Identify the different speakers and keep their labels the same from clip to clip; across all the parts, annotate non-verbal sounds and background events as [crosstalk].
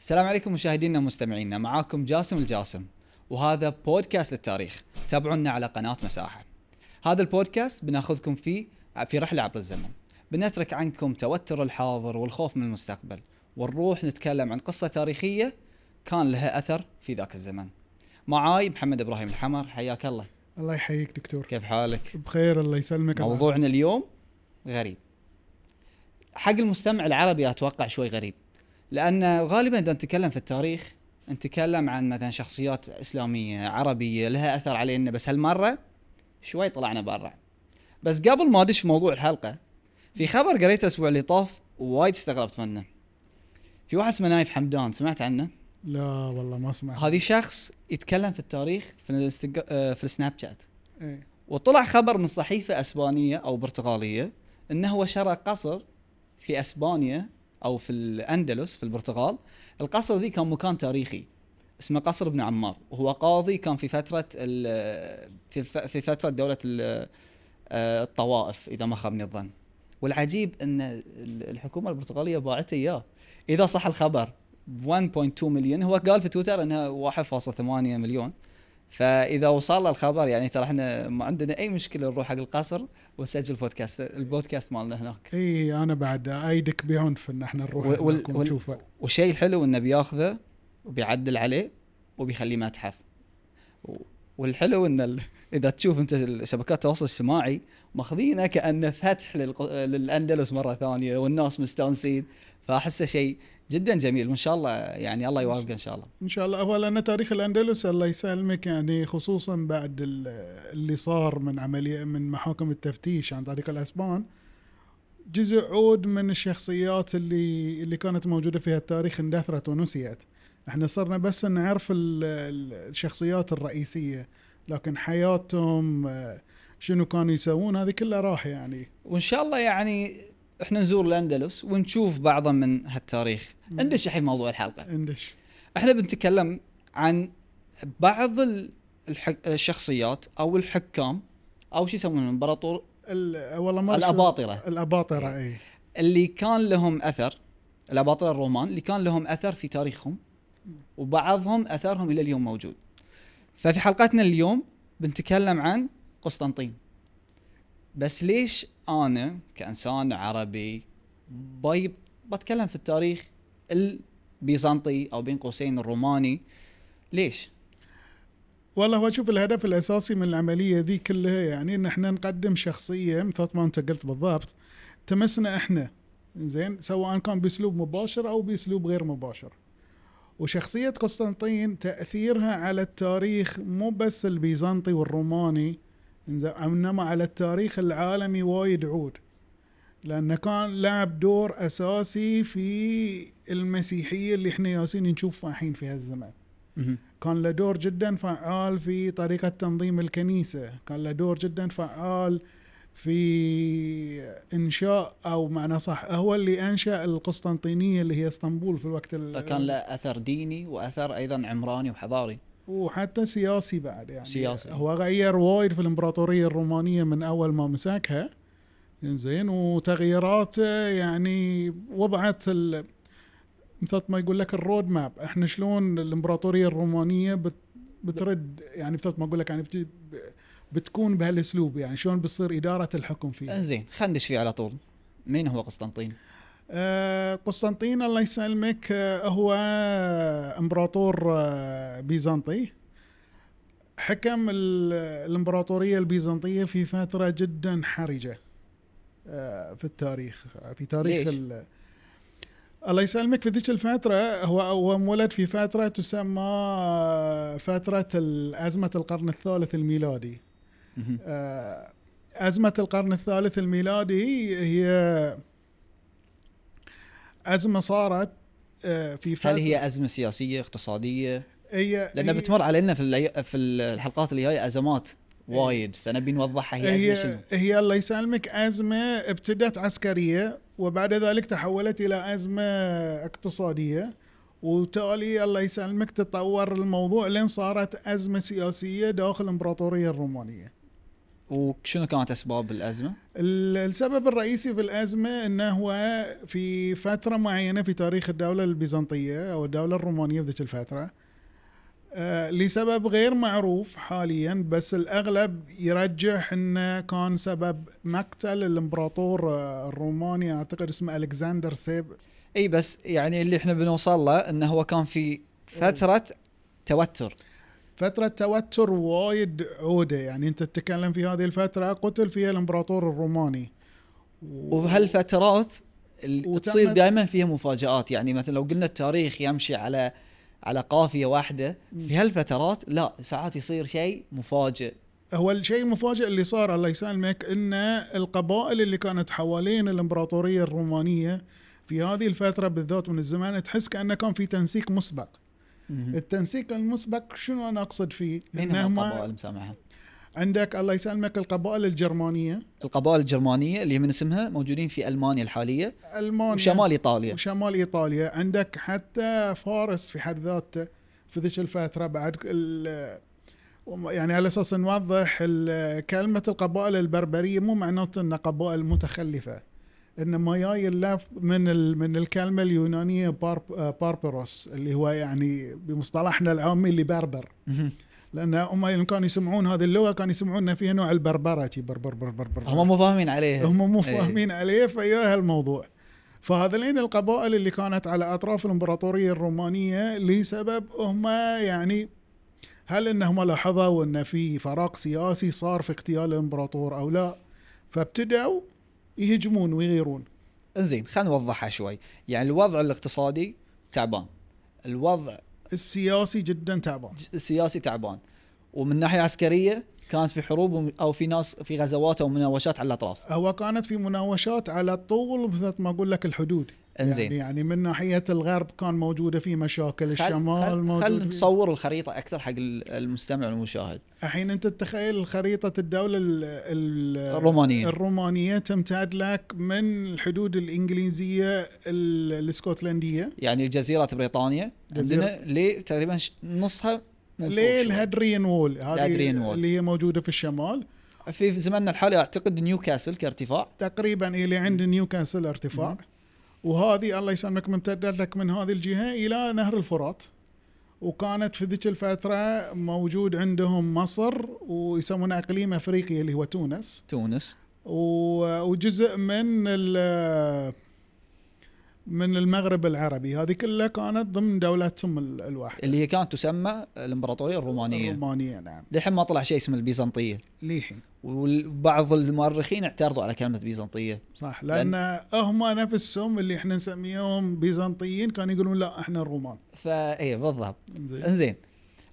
Speaker 1: السلام عليكم مشاهدينا ومستمعينا معاكم جاسم الجاسم وهذا بودكاست للتاريخ تابعونا على قناة مساحة هذا البودكاست بناخذكم فيه في رحلة عبر الزمن بنترك عنكم توتر الحاضر والخوف من المستقبل ونروح نتكلم عن قصة تاريخية كان لها أثر في ذاك الزمن معاي محمد إبراهيم الحمر حياك الله
Speaker 2: الله يحييك دكتور
Speaker 1: كيف حالك؟
Speaker 2: بخير الله يسلمك الله
Speaker 1: موضوعنا اليوم غريب حق المستمع العربي اتوقع شوي غريب لان غالبا اذا نتكلم في التاريخ نتكلم عن مثلا شخصيات اسلاميه عربيه لها اثر علينا بس هالمره شوي طلعنا برا بس قبل ما ادش في موضوع الحلقه في خبر قريته الاسبوع اللي طاف وايد استغربت منه في واحد اسمه نايف حمدان سمعت عنه
Speaker 2: لا والله ما سمعت
Speaker 1: هذه شخص يتكلم في التاريخ في الانستج... آه، في السناب شات
Speaker 2: إيه.
Speaker 1: وطلع خبر من صحيفة أسبانية أو برتغالية أنه هو شرى قصر في أسبانيا أو في الأندلس في البرتغال القصر ذي كان مكان تاريخي اسمه قصر ابن عمار وهو قاضي كان في فترة ال- في ف- في فترة دولة ال- آه، الطوائف إذا ما خابني الظن والعجيب أن ال- الحكومة البرتغالية باعته إياه إذا صح الخبر ب 1.2 مليون هو قال في تويتر أنها 1.8 مليون فاذا وصل له الخبر يعني ترى احنا ما عندنا اي مشكله نروح حق القصر ونسجل بودكاست البودكاست مالنا هناك
Speaker 2: اي انا إيه، بعد ايدك بعنف ان احنا نروح
Speaker 1: وال- وال-
Speaker 2: هناك
Speaker 1: وال-
Speaker 2: ونشوفه
Speaker 1: والشيء الحلو انه بياخذه وبيعدل عليه وبيخليه متحف و- والحلو ان ال... اذا تشوف انت ال- شبكات التواصل الاجتماعي ماخذينه كانه فتح للق... للاندلس مره ثانيه والناس مستانسين فاحسه شيء جدا جميل وان شاء الله يعني الله يوفقه ان شاء الله
Speaker 2: ان شاء الله اولا أنا تاريخ الاندلس الله يسلمك يعني خصوصا بعد ال- اللي صار من عمليه من محاكم التفتيش عن طريق الاسبان جزء عود من الشخصيات اللي اللي كانت موجوده فيها التاريخ اندثرت ونسيت احنا صرنا بس نعرف ال- ال- الشخصيات الرئيسيه لكن حياتهم آه، شنو كانوا يسوون هذه كلها راح يعني
Speaker 1: وان شاء الله يعني احنا نزور الاندلس ونشوف بعضا من هالتاريخ
Speaker 2: مم.
Speaker 1: ندش الحين موضوع الحلقه
Speaker 2: اندش
Speaker 1: احنا بنتكلم عن بعض ال- الحك... الشخصيات او الحكام او شو يسمونهم الامبراطور
Speaker 2: ال- والله ما إيه.
Speaker 1: الاباطره
Speaker 2: شو- الاباطره اي
Speaker 1: اللي كان لهم اثر الاباطره الرومان اللي كان لهم اثر في تاريخهم وبعضهم اثرهم الى اليوم موجود ففي حلقتنا اليوم بنتكلم عن قسطنطين بس ليش انا كانسان عربي بي بتكلم في التاريخ البيزنطي او بين قوسين الروماني ليش؟
Speaker 2: والله هو شوف الهدف الاساسي من العمليه ذي كلها يعني ان احنا نقدم شخصيه مثل ما انت قلت بالضبط تمسنا احنا زين سواء كان باسلوب مباشر او باسلوب غير مباشر وشخصيه قسطنطين تاثيرها على التاريخ مو بس البيزنطي والروماني إنزين، انما على التاريخ العالمي وايد عود لانه كان لعب دور اساسي في المسيحيه اللي احنا ياسين نشوفها الحين في هالزمن كان له دور جدا فعال في طريقة تنظيم الكنيسة كان له دور جدا فعال في إنشاء أو معنى صح هو اللي أنشأ القسطنطينية اللي هي اسطنبول في الوقت ال-
Speaker 1: فكان له اثر ديني واثر ايضا عمراني وحضاري
Speaker 2: وحتى سياسي بعد يعني
Speaker 1: سياسي.
Speaker 2: هو غير وايد في الإمبراطورية الرومانية من أول ما مسكها زين وتغييرات يعني وضعت ال... مثل ما يقول لك الرود ماب احنا شلون الامبراطوريه الرومانيه بت... بترد يعني مثل ما اقول لك يعني بت... بتكون بهالاسلوب يعني شلون بتصير اداره الحكم فيها
Speaker 1: انزين خلينا ندش فيه على طول مين هو قسطنطين؟
Speaker 2: آه، قسطنطين الله يسلمك آه، هو امبراطور آه، بيزنطي حكم ال- الامبراطوريه البيزنطيه في فتره جدا حرجه آه، في التاريخ في تاريخ
Speaker 1: ليش؟
Speaker 2: ال- الله يسلمك في ذيك الفترة هو هو انولد في فترة تسمى آه، فترة ال- أزمة القرن الثالث الميلادي
Speaker 1: مهم.
Speaker 2: آه، أزمة القرن الثالث الميلادي هي أزمة صارت آه، في فترة
Speaker 1: هل هي ازمه سياسيه اقتصاديه؟
Speaker 2: هي
Speaker 1: لان
Speaker 2: هي-
Speaker 1: بتمر علينا في الأي- في الحلقات اللي جايه ازمات وايد فنبي نوضحها هي ازمه
Speaker 2: هي
Speaker 1: شنو؟
Speaker 2: هي الله يسلمك أزمة ابتدت عسكرية وبعد ذلك تحولت إلى أزمة اقتصادية وتالي الله يسلمك تطور الموضوع لين صارت أزمة سياسية داخل الإمبراطورية الرومانية
Speaker 1: وشنو كانت اسباب الازمه؟
Speaker 2: ال- السبب الرئيسي في الأزمة أنه هو في فترة معينة في تاريخ الدولة البيزنطية أو الدولة الرومانية في ذيك الفترة آه، لسبب غير معروف حاليا بس الأغلب يرجح أنه كان سبب مقتل الإمبراطور آه، الروماني أعتقد اسمه ألكسندر سيب
Speaker 1: اي بس يعني اللي احنا بنوصل له انه هو كان في فتره توتر
Speaker 2: فترة توتر وايد عودة يعني أنت تتكلم في هذه الفترة قتل فيها الإمبراطور الروماني و-
Speaker 1: وهالفترات اللي
Speaker 2: وتمت-
Speaker 1: تصير دائما فيها مفاجات يعني مثلا لو قلنا التاريخ يمشي على على قافيه واحده
Speaker 2: مم.
Speaker 1: في هالفترات لا ساعات يصير شيء مفاجئ
Speaker 2: هو الشيء المفاجئ اللي صار الله يسلمك ان القبائل اللي كانت حوالين الامبراطوريه الرومانيه في هذه الفتره بالذات من الزمان تحس كانه كان في تنسيق مسبق، التنسيق المسبق شنو انا اقصد فيه؟
Speaker 1: مين هم القبائل مسامحه؟
Speaker 2: عندك الله يسلمك القبائل الجرمانيه
Speaker 1: القبائل الجرمانيه اللي من اسمها موجودين في المانيا الحاليه
Speaker 2: المانيا
Speaker 1: وشمال ايطاليا
Speaker 2: وشمال ايطاليا، عندك حتى فارس في حد ذاته في ذيك الفتره بعد ال- يعني على اساس نوضح ال- كلمه القبائل البربريه مو معناته ان قبائل متخلفه انما جاي اللف من ال- من الكلمه اليونانيه بارب باربروس اللي هو يعني بمصطلحنا العامي اللي بربر
Speaker 1: مهم.
Speaker 2: لان هم يوم كانوا يسمعون هذه اللغه كانوا يسمعون ان فيها نوع البربره شي بربر بربر بربر
Speaker 1: هم مو فاهمين عليها
Speaker 2: هم مو
Speaker 1: إيه.
Speaker 2: فاهمين عليه فيا هالموضوع فهذين القبائل اللي كانت على اطراف الامبراطوريه الرومانيه لسبب هم يعني هل انهم لاحظوا ان في فراغ سياسي صار في اغتيال الامبراطور او لا فابتدوا يهجمون ويغيرون
Speaker 1: انزين خلينا نوضحها شوي يعني الوضع الاقتصادي تعبان الوضع
Speaker 2: السياسي جدا تعبان
Speaker 1: السياسي تعبان ومن ناحيه عسكريه كانت في حروب او في ناس في غزوات او مناوشات على الاطراف
Speaker 2: هو كانت في مناوشات على طول مثل ما اقول لك الحدود
Speaker 1: انزين
Speaker 2: يعني, يعني من ناحيه الغرب كان موجوده في مشاكل
Speaker 1: خل-
Speaker 2: الشمال
Speaker 1: خل-
Speaker 2: موجود
Speaker 1: خلنا
Speaker 2: في-
Speaker 1: نصور الخريطه اكثر حق ال- المستمع والمشاهد
Speaker 2: الحين انت تتخيل خريطه الدوله ال- ال-
Speaker 1: الرومانية.
Speaker 2: الرومانيه تمتد لك من الحدود الانجليزيه ال- الاسكتلنديه
Speaker 1: يعني الجزيره بريطانيا
Speaker 2: جزيرة.
Speaker 1: عندنا ليه تقريبا ش- نصها من فوق شوي.
Speaker 2: للهدريان وول
Speaker 1: الهدريان
Speaker 2: هذه
Speaker 1: وول.
Speaker 2: اللي هي موجوده في الشمال
Speaker 1: في في زماننا الحالي اعتقد نيوكاسل كارتفاع
Speaker 2: تقريبا الى عند نيوكاسل ارتفاع وهذه الله يسلمك ممتده لك من هذه الجهه الى نهر الفرات وكانت في ذيك الفتره موجود عندهم مصر ويسمونها اقليم افريقيا اللي هو تونس
Speaker 1: تونس
Speaker 2: و- وجزء من ال- من المغرب العربي هذه كلها كانت ضمن دولتهم ال- الواحده
Speaker 1: اللي هي كانت تسمى الامبراطوريه الرومانيه
Speaker 2: الرومانيه نعم
Speaker 1: للحين ما طلع شيء اسمه البيزنطيه
Speaker 2: للحين
Speaker 1: وبعض المؤرخين اعترضوا على كلمه بيزنطيه
Speaker 2: صح لان هم نفسهم اللي احنا نسميهم بيزنطيين كانوا يقولون لا احنا الرومان
Speaker 1: فاي إيه، بالضبط
Speaker 2: زين.
Speaker 1: انزين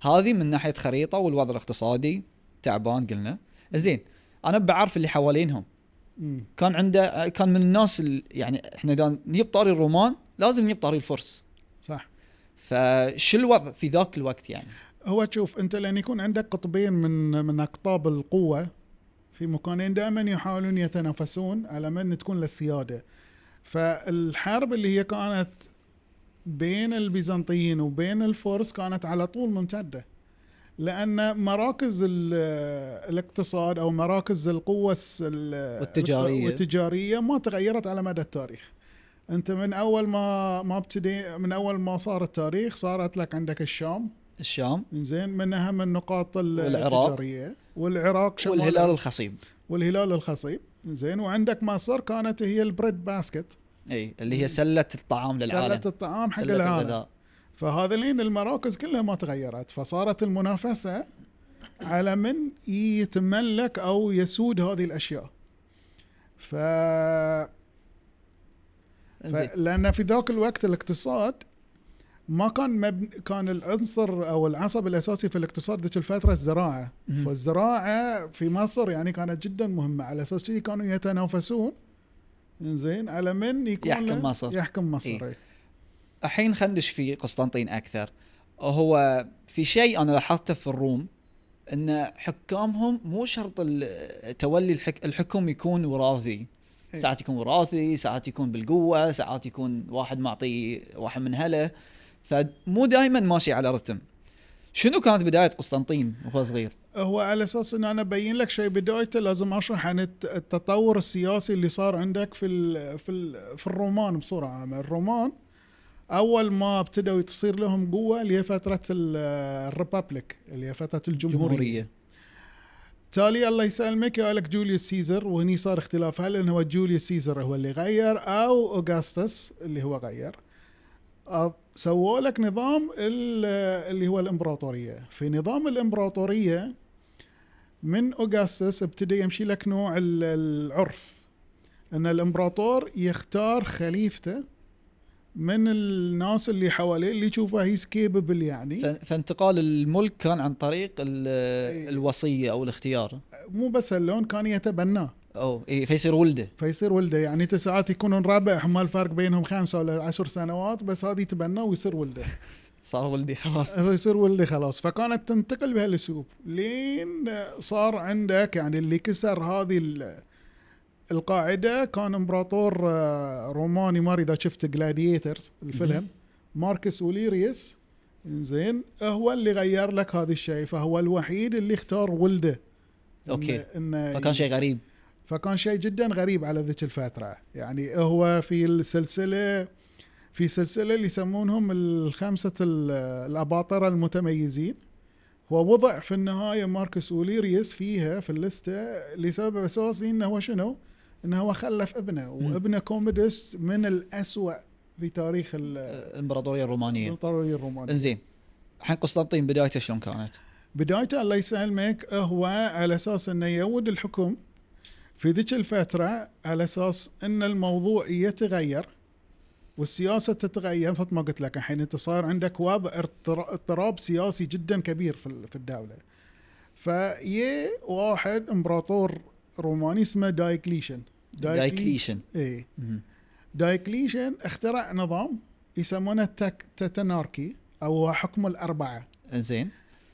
Speaker 1: هذه من ناحيه خريطه والوضع الاقتصادي تعبان قلنا زين انا بعرف اللي حوالينهم
Speaker 2: مم.
Speaker 1: كان عنده كان من الناس ال- يعني احنا اذا نجيب طاري الرومان لازم نجيب طاري الفرس
Speaker 2: صح
Speaker 1: فشو الوضع في ذاك الوقت يعني
Speaker 2: هو تشوف انت لان يكون عندك قطبين من من اقطاب القوه في مكانين دائما يحاولون يتنافسون على من تكون للسياده فالحرب اللي هي كانت بين البيزنطيين وبين الفرس كانت على طول ممتده لان مراكز ال- الاقتصاد او مراكز القوه الس- ال-
Speaker 1: والتجارية.
Speaker 2: والتجاريه ما تغيرت على مدى التاريخ انت من اول ما ما ابتدي من اول ما صار التاريخ صارت لك عندك الشام
Speaker 1: الشام
Speaker 2: زين من اهم النقاط ال-
Speaker 1: والعراق.
Speaker 2: التجاريه والعراق شمال
Speaker 1: والهلال الخصيب
Speaker 2: والهلال الخصيب زين وعندك مصر كانت هي البريد باسكت
Speaker 1: اي اللي هي سله الطعام للعالم
Speaker 2: سله الطعام حق
Speaker 1: سلة
Speaker 2: العالم
Speaker 1: الغذاء
Speaker 2: فهذين المراكز كلها ما تغيرت فصارت المنافسه على من يتملك او يسود هذه الاشياء ف ف-
Speaker 1: انزين
Speaker 2: لان في ذاك الوقت الاقتصاد ما كان مبن... كان العنصر او العصب الاساسي في الاقتصاد ذيك الفتره الزراعه
Speaker 1: مهم.
Speaker 2: والزراعه في مصر يعني كانت جدا مهمه على اساس كذي كانوا يتنافسون زين على من يكون
Speaker 1: يحكم
Speaker 2: له-
Speaker 1: مصر.
Speaker 2: يحكم مصر
Speaker 1: إيه.
Speaker 2: إيه.
Speaker 1: الحين ندش في قسطنطين اكثر هو في شيء انا لاحظته في الروم ان حكامهم مو شرط ال- تولي الحك... الحكم يكون وراثي
Speaker 2: إيه.
Speaker 1: ساعات يكون وراثي ساعات يكون بالقوه ساعات يكون واحد معطي واحد من هله فمو دائما ماشي على رتم شنو كانت بدايه قسطنطين وهو صغير؟
Speaker 2: هو على اساس انه انا ابين لك شيء بدايته لازم اشرح عن الت- التطور السياسي اللي صار عندك في ال في ال في الرومان بصوره عامه، الرومان اول ما ابتدوا تصير لهم قوه اللي هي فتره ال- الريبابليك اللي هي فتره الجمهوريه.
Speaker 1: جمهوريه
Speaker 2: تالي الله يسلمك يقول لك جوليوس سيزر وهني صار اختلاف هل انه هو جوليوس سيزر هو اللي غير او اوغستس اللي هو غير أه، سووا لك نظام ال- اللي هو الامبراطوريه في نظام الامبراطوريه من اوغستس ابتدى يمشي لك نوع ال- العرف ان الامبراطور يختار خليفته من الناس اللي حواليه اللي يشوفه هيز كيبل يعني
Speaker 1: ف- فانتقال الملك كان عن طريق ال-
Speaker 2: إيه.
Speaker 1: الوصيه او الاختيار
Speaker 2: مو بس اللون كان يتبناه
Speaker 1: او إيه فيصير ولده
Speaker 2: فيصير ولده يعني انت ساعات يكونون ربع ما الفرق بينهم خمسة ولا عشر سنوات بس هذه تبناه
Speaker 1: [laughs]
Speaker 2: ويصير ولده
Speaker 1: صار ولدي خلاص
Speaker 2: فيصير ولده خلاص فكانت تنتقل بهالاسلوب لين صار عندك يعني اللي كسر هذه ال- القاعده كان امبراطور آه، روماني ما ادري اذا شفت جلاديترز الفيلم
Speaker 1: مهم.
Speaker 2: ماركس اوليريس زين هو اللي غير لك هذا الشيء فهو الوحيد اللي اختار ولده
Speaker 1: أوكي.
Speaker 2: إنه
Speaker 1: فكان شيء غريب
Speaker 2: فكان شيء جدا غريب على ذيك الفترة يعني هو في السلسلة في سلسلة اللي يسمونهم الخمسة ال- الأباطرة المتميزين هو وضع في النهاية ماركوس أوليريس فيها في اللستة لسبب أساسي أنه هو شنو أنه هو خلف ابنه وابنه كوميدس من الأسوأ في تاريخ ال-
Speaker 1: الامبراطوريه الرومانيه
Speaker 2: الإمبراطورية الرومانية
Speaker 1: انزين الحين قسطنطين بدايته شلون كانت؟
Speaker 2: بدايته الله يسلمك هو على اساس انه يود الحكم في ذيك الفتره على اساس ان الموضوع يتغير والسياسه تتغير مثل ما قلت لك الحين انت صار عندك وضع اضطرا- اضطراب سياسي جدا كبير في ال- في الدوله. فيي واحد امبراطور روماني اسمه دايكليشن
Speaker 1: دايكليشن
Speaker 2: اي
Speaker 1: مهم.
Speaker 2: دايكليشن اخترع نظام يسمونه تك- تتناركي او هو حكم الاربعه.
Speaker 1: انزين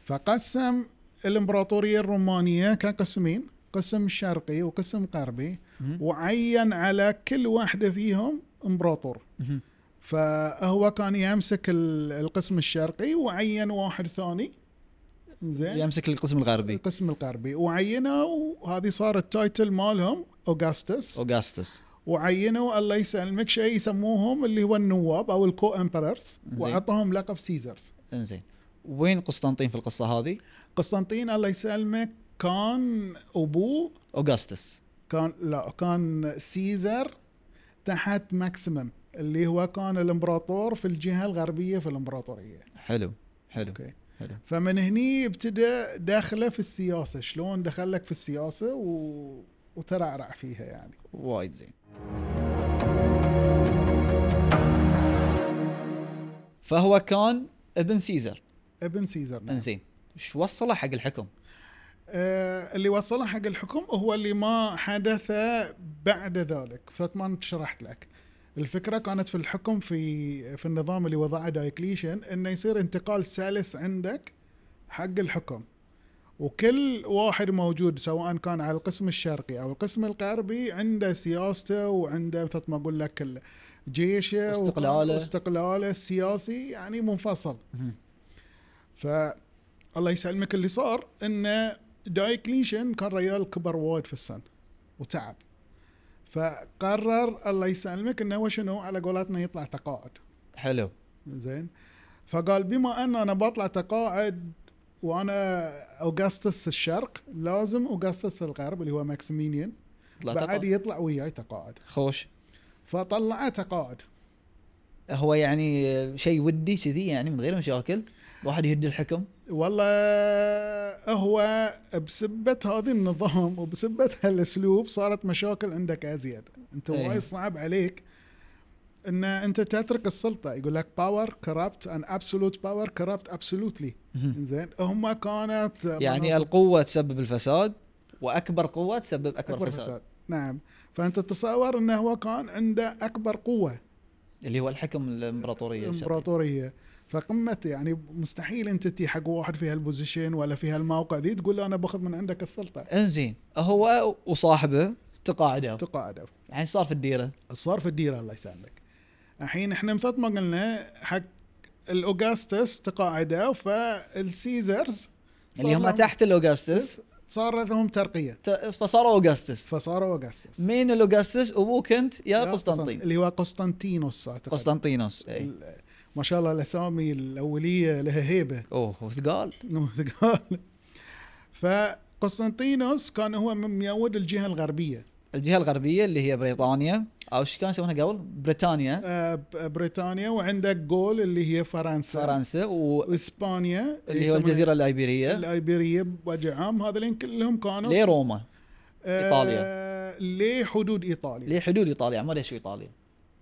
Speaker 2: فقسم الامبراطوريه الرومانيه كان قسمين قسم شرقي وقسم غربي
Speaker 1: مهم.
Speaker 2: وعين على كل واحده فيهم امبراطور
Speaker 1: مهم.
Speaker 2: فهو كان يمسك ال- القسم الشرقي وعين واحد ثاني زين
Speaker 1: يمسك القسم الغربي
Speaker 2: القسم الغربي وعينه وهذه صار التايتل مالهم اوغستس
Speaker 1: اوغستس
Speaker 2: وعينوا الله يسلمك شيء يسموهم اللي هو النواب او الكو امبررز
Speaker 1: زين.
Speaker 2: واعطاهم لقب سيزرز
Speaker 1: انزين وين قسطنطين في القصه هذه؟
Speaker 2: قسطنطين الله يسلمك كان ابوه
Speaker 1: اوغستس
Speaker 2: كان لا كان سيزر تحت ماكسيمم اللي هو كان الامبراطور في الجهه الغربيه في الامبراطوريه
Speaker 1: حلو حلو
Speaker 2: اوكي
Speaker 1: حلو.
Speaker 2: فمن هني ابتدى داخله في السياسه شلون دخلك في السياسه و... وترعرع فيها يعني
Speaker 1: وايد زين فهو كان ابن سيزر
Speaker 2: ابن سيزر نعم.
Speaker 1: انزين شو وصله حق الحكم؟
Speaker 2: آه اللي وصله حق الحكم هو اللي ما حدث بعد ذلك فما شرحت لك الفكره كانت في الحكم في في النظام اللي وضعه دايكليشن انه يصير انتقال سلس عندك حق الحكم وكل واحد موجود سواء كان على القسم الشرقي او القسم الغربي عنده سياسته وعنده مثل ما اقول لك ال- جيشه وكان-
Speaker 1: استقلاله.
Speaker 2: استقلاله السياسي يعني منفصل
Speaker 1: مهم.
Speaker 2: ف الله يسلمك اللي صار انه دايكليشن كان ريال كبر وايد في السن وتعب فقرر الله يسلمك انه هو شنو على قولتنا يطلع تقاعد
Speaker 1: حلو
Speaker 2: زين فقال بما ان انا بطلع تقاعد وانا اوغستس الشرق لازم اوغستس الغرب اللي هو ماكسيمينيان
Speaker 1: طلع
Speaker 2: بعد
Speaker 1: تقاعد.
Speaker 2: يطلع وياي تقاعد
Speaker 1: خوش
Speaker 2: فطلعه تقاعد
Speaker 1: هو يعني شيء ودي كذي يعني من غير مشاكل الواحد يهد الحكم
Speaker 2: والله هو بسبة هذا النظام وبسبة هالاسلوب صارت مشاكل عندك ازيد انت
Speaker 1: أيه.
Speaker 2: وايد صعب عليك ان انت تترك السلطه يقول لك باور كرابت ان ابسولوت باور كرابت ابسولوتلي
Speaker 1: مهم.
Speaker 2: زين هم كانت
Speaker 1: يعني
Speaker 2: مناصب-
Speaker 1: القوة تسبب الفساد واكبر قوة تسبب اكبر, أكبر فساد. فساد
Speaker 2: نعم فانت تتصور انه هو كان عنده اكبر قوه
Speaker 1: إيه، اللي هو الحكم الامبراطورية الشرقية.
Speaker 2: امبراطوريه فقمه يعني مستحيل انت تي حق واحد في هالبوزيشن ولا في هالموقع ذي تقول له انا باخذ من عندك السلطه
Speaker 1: انزين هو وصاحبه تقاعدوا
Speaker 2: تقاعدوا
Speaker 1: الحين صار في الديرة
Speaker 2: صار في الديره الله يسلمك الحين احنا مثل ما قلنا حق الاوغستس تقاعدوا فالسيزرز صار
Speaker 1: اللي هم
Speaker 2: لهم-
Speaker 1: تحت الاوغستس
Speaker 2: صار لهم ترقيه
Speaker 1: ت- فصاروا اوغستس
Speaker 2: فصاروا اوغستس
Speaker 1: مين الاوغستس ابوك انت يا
Speaker 2: لا،
Speaker 1: قسطنطين
Speaker 2: اللي هو قسطنطينوس اعتقد
Speaker 1: قسطنطينوس إيه. اي
Speaker 2: ال- ما شاء الله الاسامي الاوليه لها هيبه
Speaker 1: اوه وش قال؟
Speaker 2: ثقال فقسطنطينوس كان هو من يعود الجهه الغربيه
Speaker 1: الجهه الغربيه اللي هي بريطانيا او ايش كانوا يسمونها قبل؟ بريطانيا
Speaker 2: آه، ب- بريطانيا وعندك جول اللي هي فرنسا,
Speaker 1: فرنسا واللي
Speaker 2: واسبانيا
Speaker 1: هو
Speaker 2: يسمونها
Speaker 1: الجزيره الايبيريه
Speaker 2: الايبيريه بوجه عام هذولين كلهم كانوا آه،
Speaker 1: لروما إيطاليا.
Speaker 2: ليه حدود ايطاليا
Speaker 1: لحدود ايطاليا ما ليش شو ايطاليا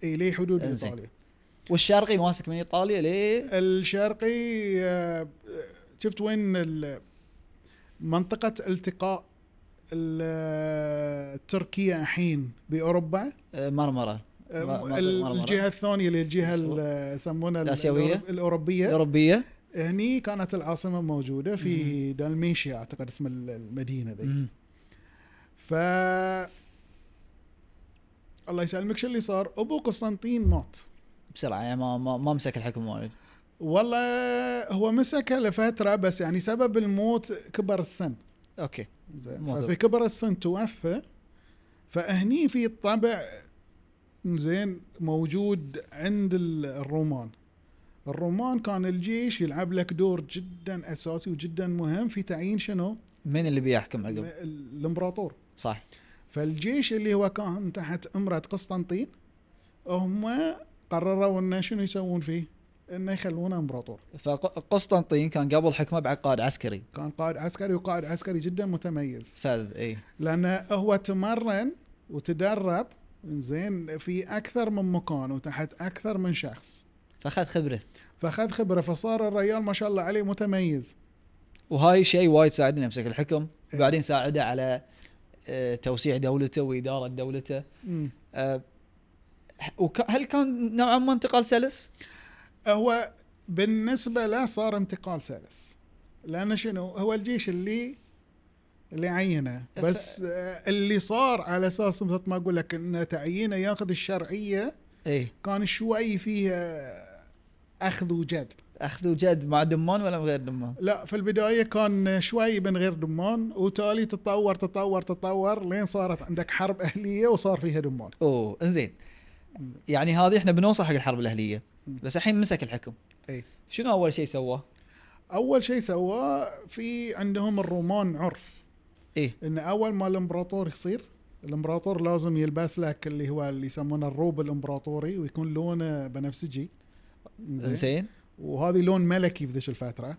Speaker 2: اي ليه حدود
Speaker 1: إنزين.
Speaker 2: ايطاليا
Speaker 1: والشرقي ماسك من ايطاليا ليه
Speaker 2: الشرقي آه، شفت وين ال- منطقه التقاء ال- تركيا الحين باوروبا
Speaker 1: آه، مرمره ما- ما-
Speaker 2: ال-
Speaker 1: مرمرة.
Speaker 2: الجهه الثانيه اللي الجهه ال- يسمونها ال-
Speaker 1: الآسيوية؟
Speaker 2: الأورو- الاوروبيه
Speaker 1: الاوروبيه
Speaker 2: هني كانت العاصمه موجوده في دالميشيا اعتقد اسم ال- المدينه ذي
Speaker 1: مم.
Speaker 2: ف الله يسلمك شو اللي صار؟ ابو قسطنطين مات
Speaker 1: بسرعه يعني ما ما, ما مسك الحكم وايد
Speaker 2: والله هو مسكه لفتره بس يعني سبب الموت كبر السن
Speaker 1: اوكي
Speaker 2: زين
Speaker 1: مو
Speaker 2: ففي
Speaker 1: ذوق.
Speaker 2: كبر السن توفى فهني في طبع زين موجود عند ال- الرومان الرومان كان الجيش يلعب لك دور جدا اساسي وجدا مهم في تعيين شنو؟
Speaker 1: مين اللي بيحكم
Speaker 2: ال-
Speaker 1: عقب؟
Speaker 2: الامبراطور
Speaker 1: صح
Speaker 2: فالجيش اللي هو كان تحت امره قسطنطين هم قرروا انه شنو يسوون فيه؟ انه يخلونه امبراطور
Speaker 1: فقسطنطين كان قبل حكمه بعد قائد عسكري
Speaker 2: كان قائد عسكري وقائد عسكري جدا متميز
Speaker 1: فذ اي
Speaker 2: لانه هو تمرن وتدرب زين في اكثر من مكان وتحت اكثر من شخص
Speaker 1: فاخذ خبره
Speaker 2: فاخذ خبره فصار الرجال ما شاء الله عليه متميز
Speaker 1: وهاي شيء وايد ساعدنا يمسك الحكم وبعدين ساعده على آه، توسيع دولته واداره دولته
Speaker 2: مم.
Speaker 1: آه، وك- هل كان نوعا ما انتقال سلس؟
Speaker 2: هو بالنسبه له صار انتقال سلس لانه شنو هو الجيش اللي اللي عينه
Speaker 1: ف-
Speaker 2: بس آه، اللي صار على اساس مثل ما اقول لك ان تعيينه ياخذ الشرعيه
Speaker 1: اي
Speaker 2: كان شوي فيه آه، اخذ وجذب
Speaker 1: اخذوا جد مع دمان ولا من غير دمان؟
Speaker 2: لا في البداية كان شوي من غير دمان وتالي تطور تطور تطور لين صارت عندك حرب أهلية وصار فيها دمان
Speaker 1: اوه انزين يعني هذه احنا بنوصل حق الحرب الاهليه بس الحين مسك الحكم
Speaker 2: إي.
Speaker 1: شنو اول شيء سواه؟
Speaker 2: أول شيء سواه في عندهم الرومان عرف
Speaker 1: اي
Speaker 2: إن أول ما الإمبراطور يصير الإمبراطور لازم يلبس لك اللي هو اللي يسمونه الروب الإمبراطوري ويكون لونه بنفسجي زين
Speaker 1: زين
Speaker 2: وهذه لون ملكي في ذيك الفترة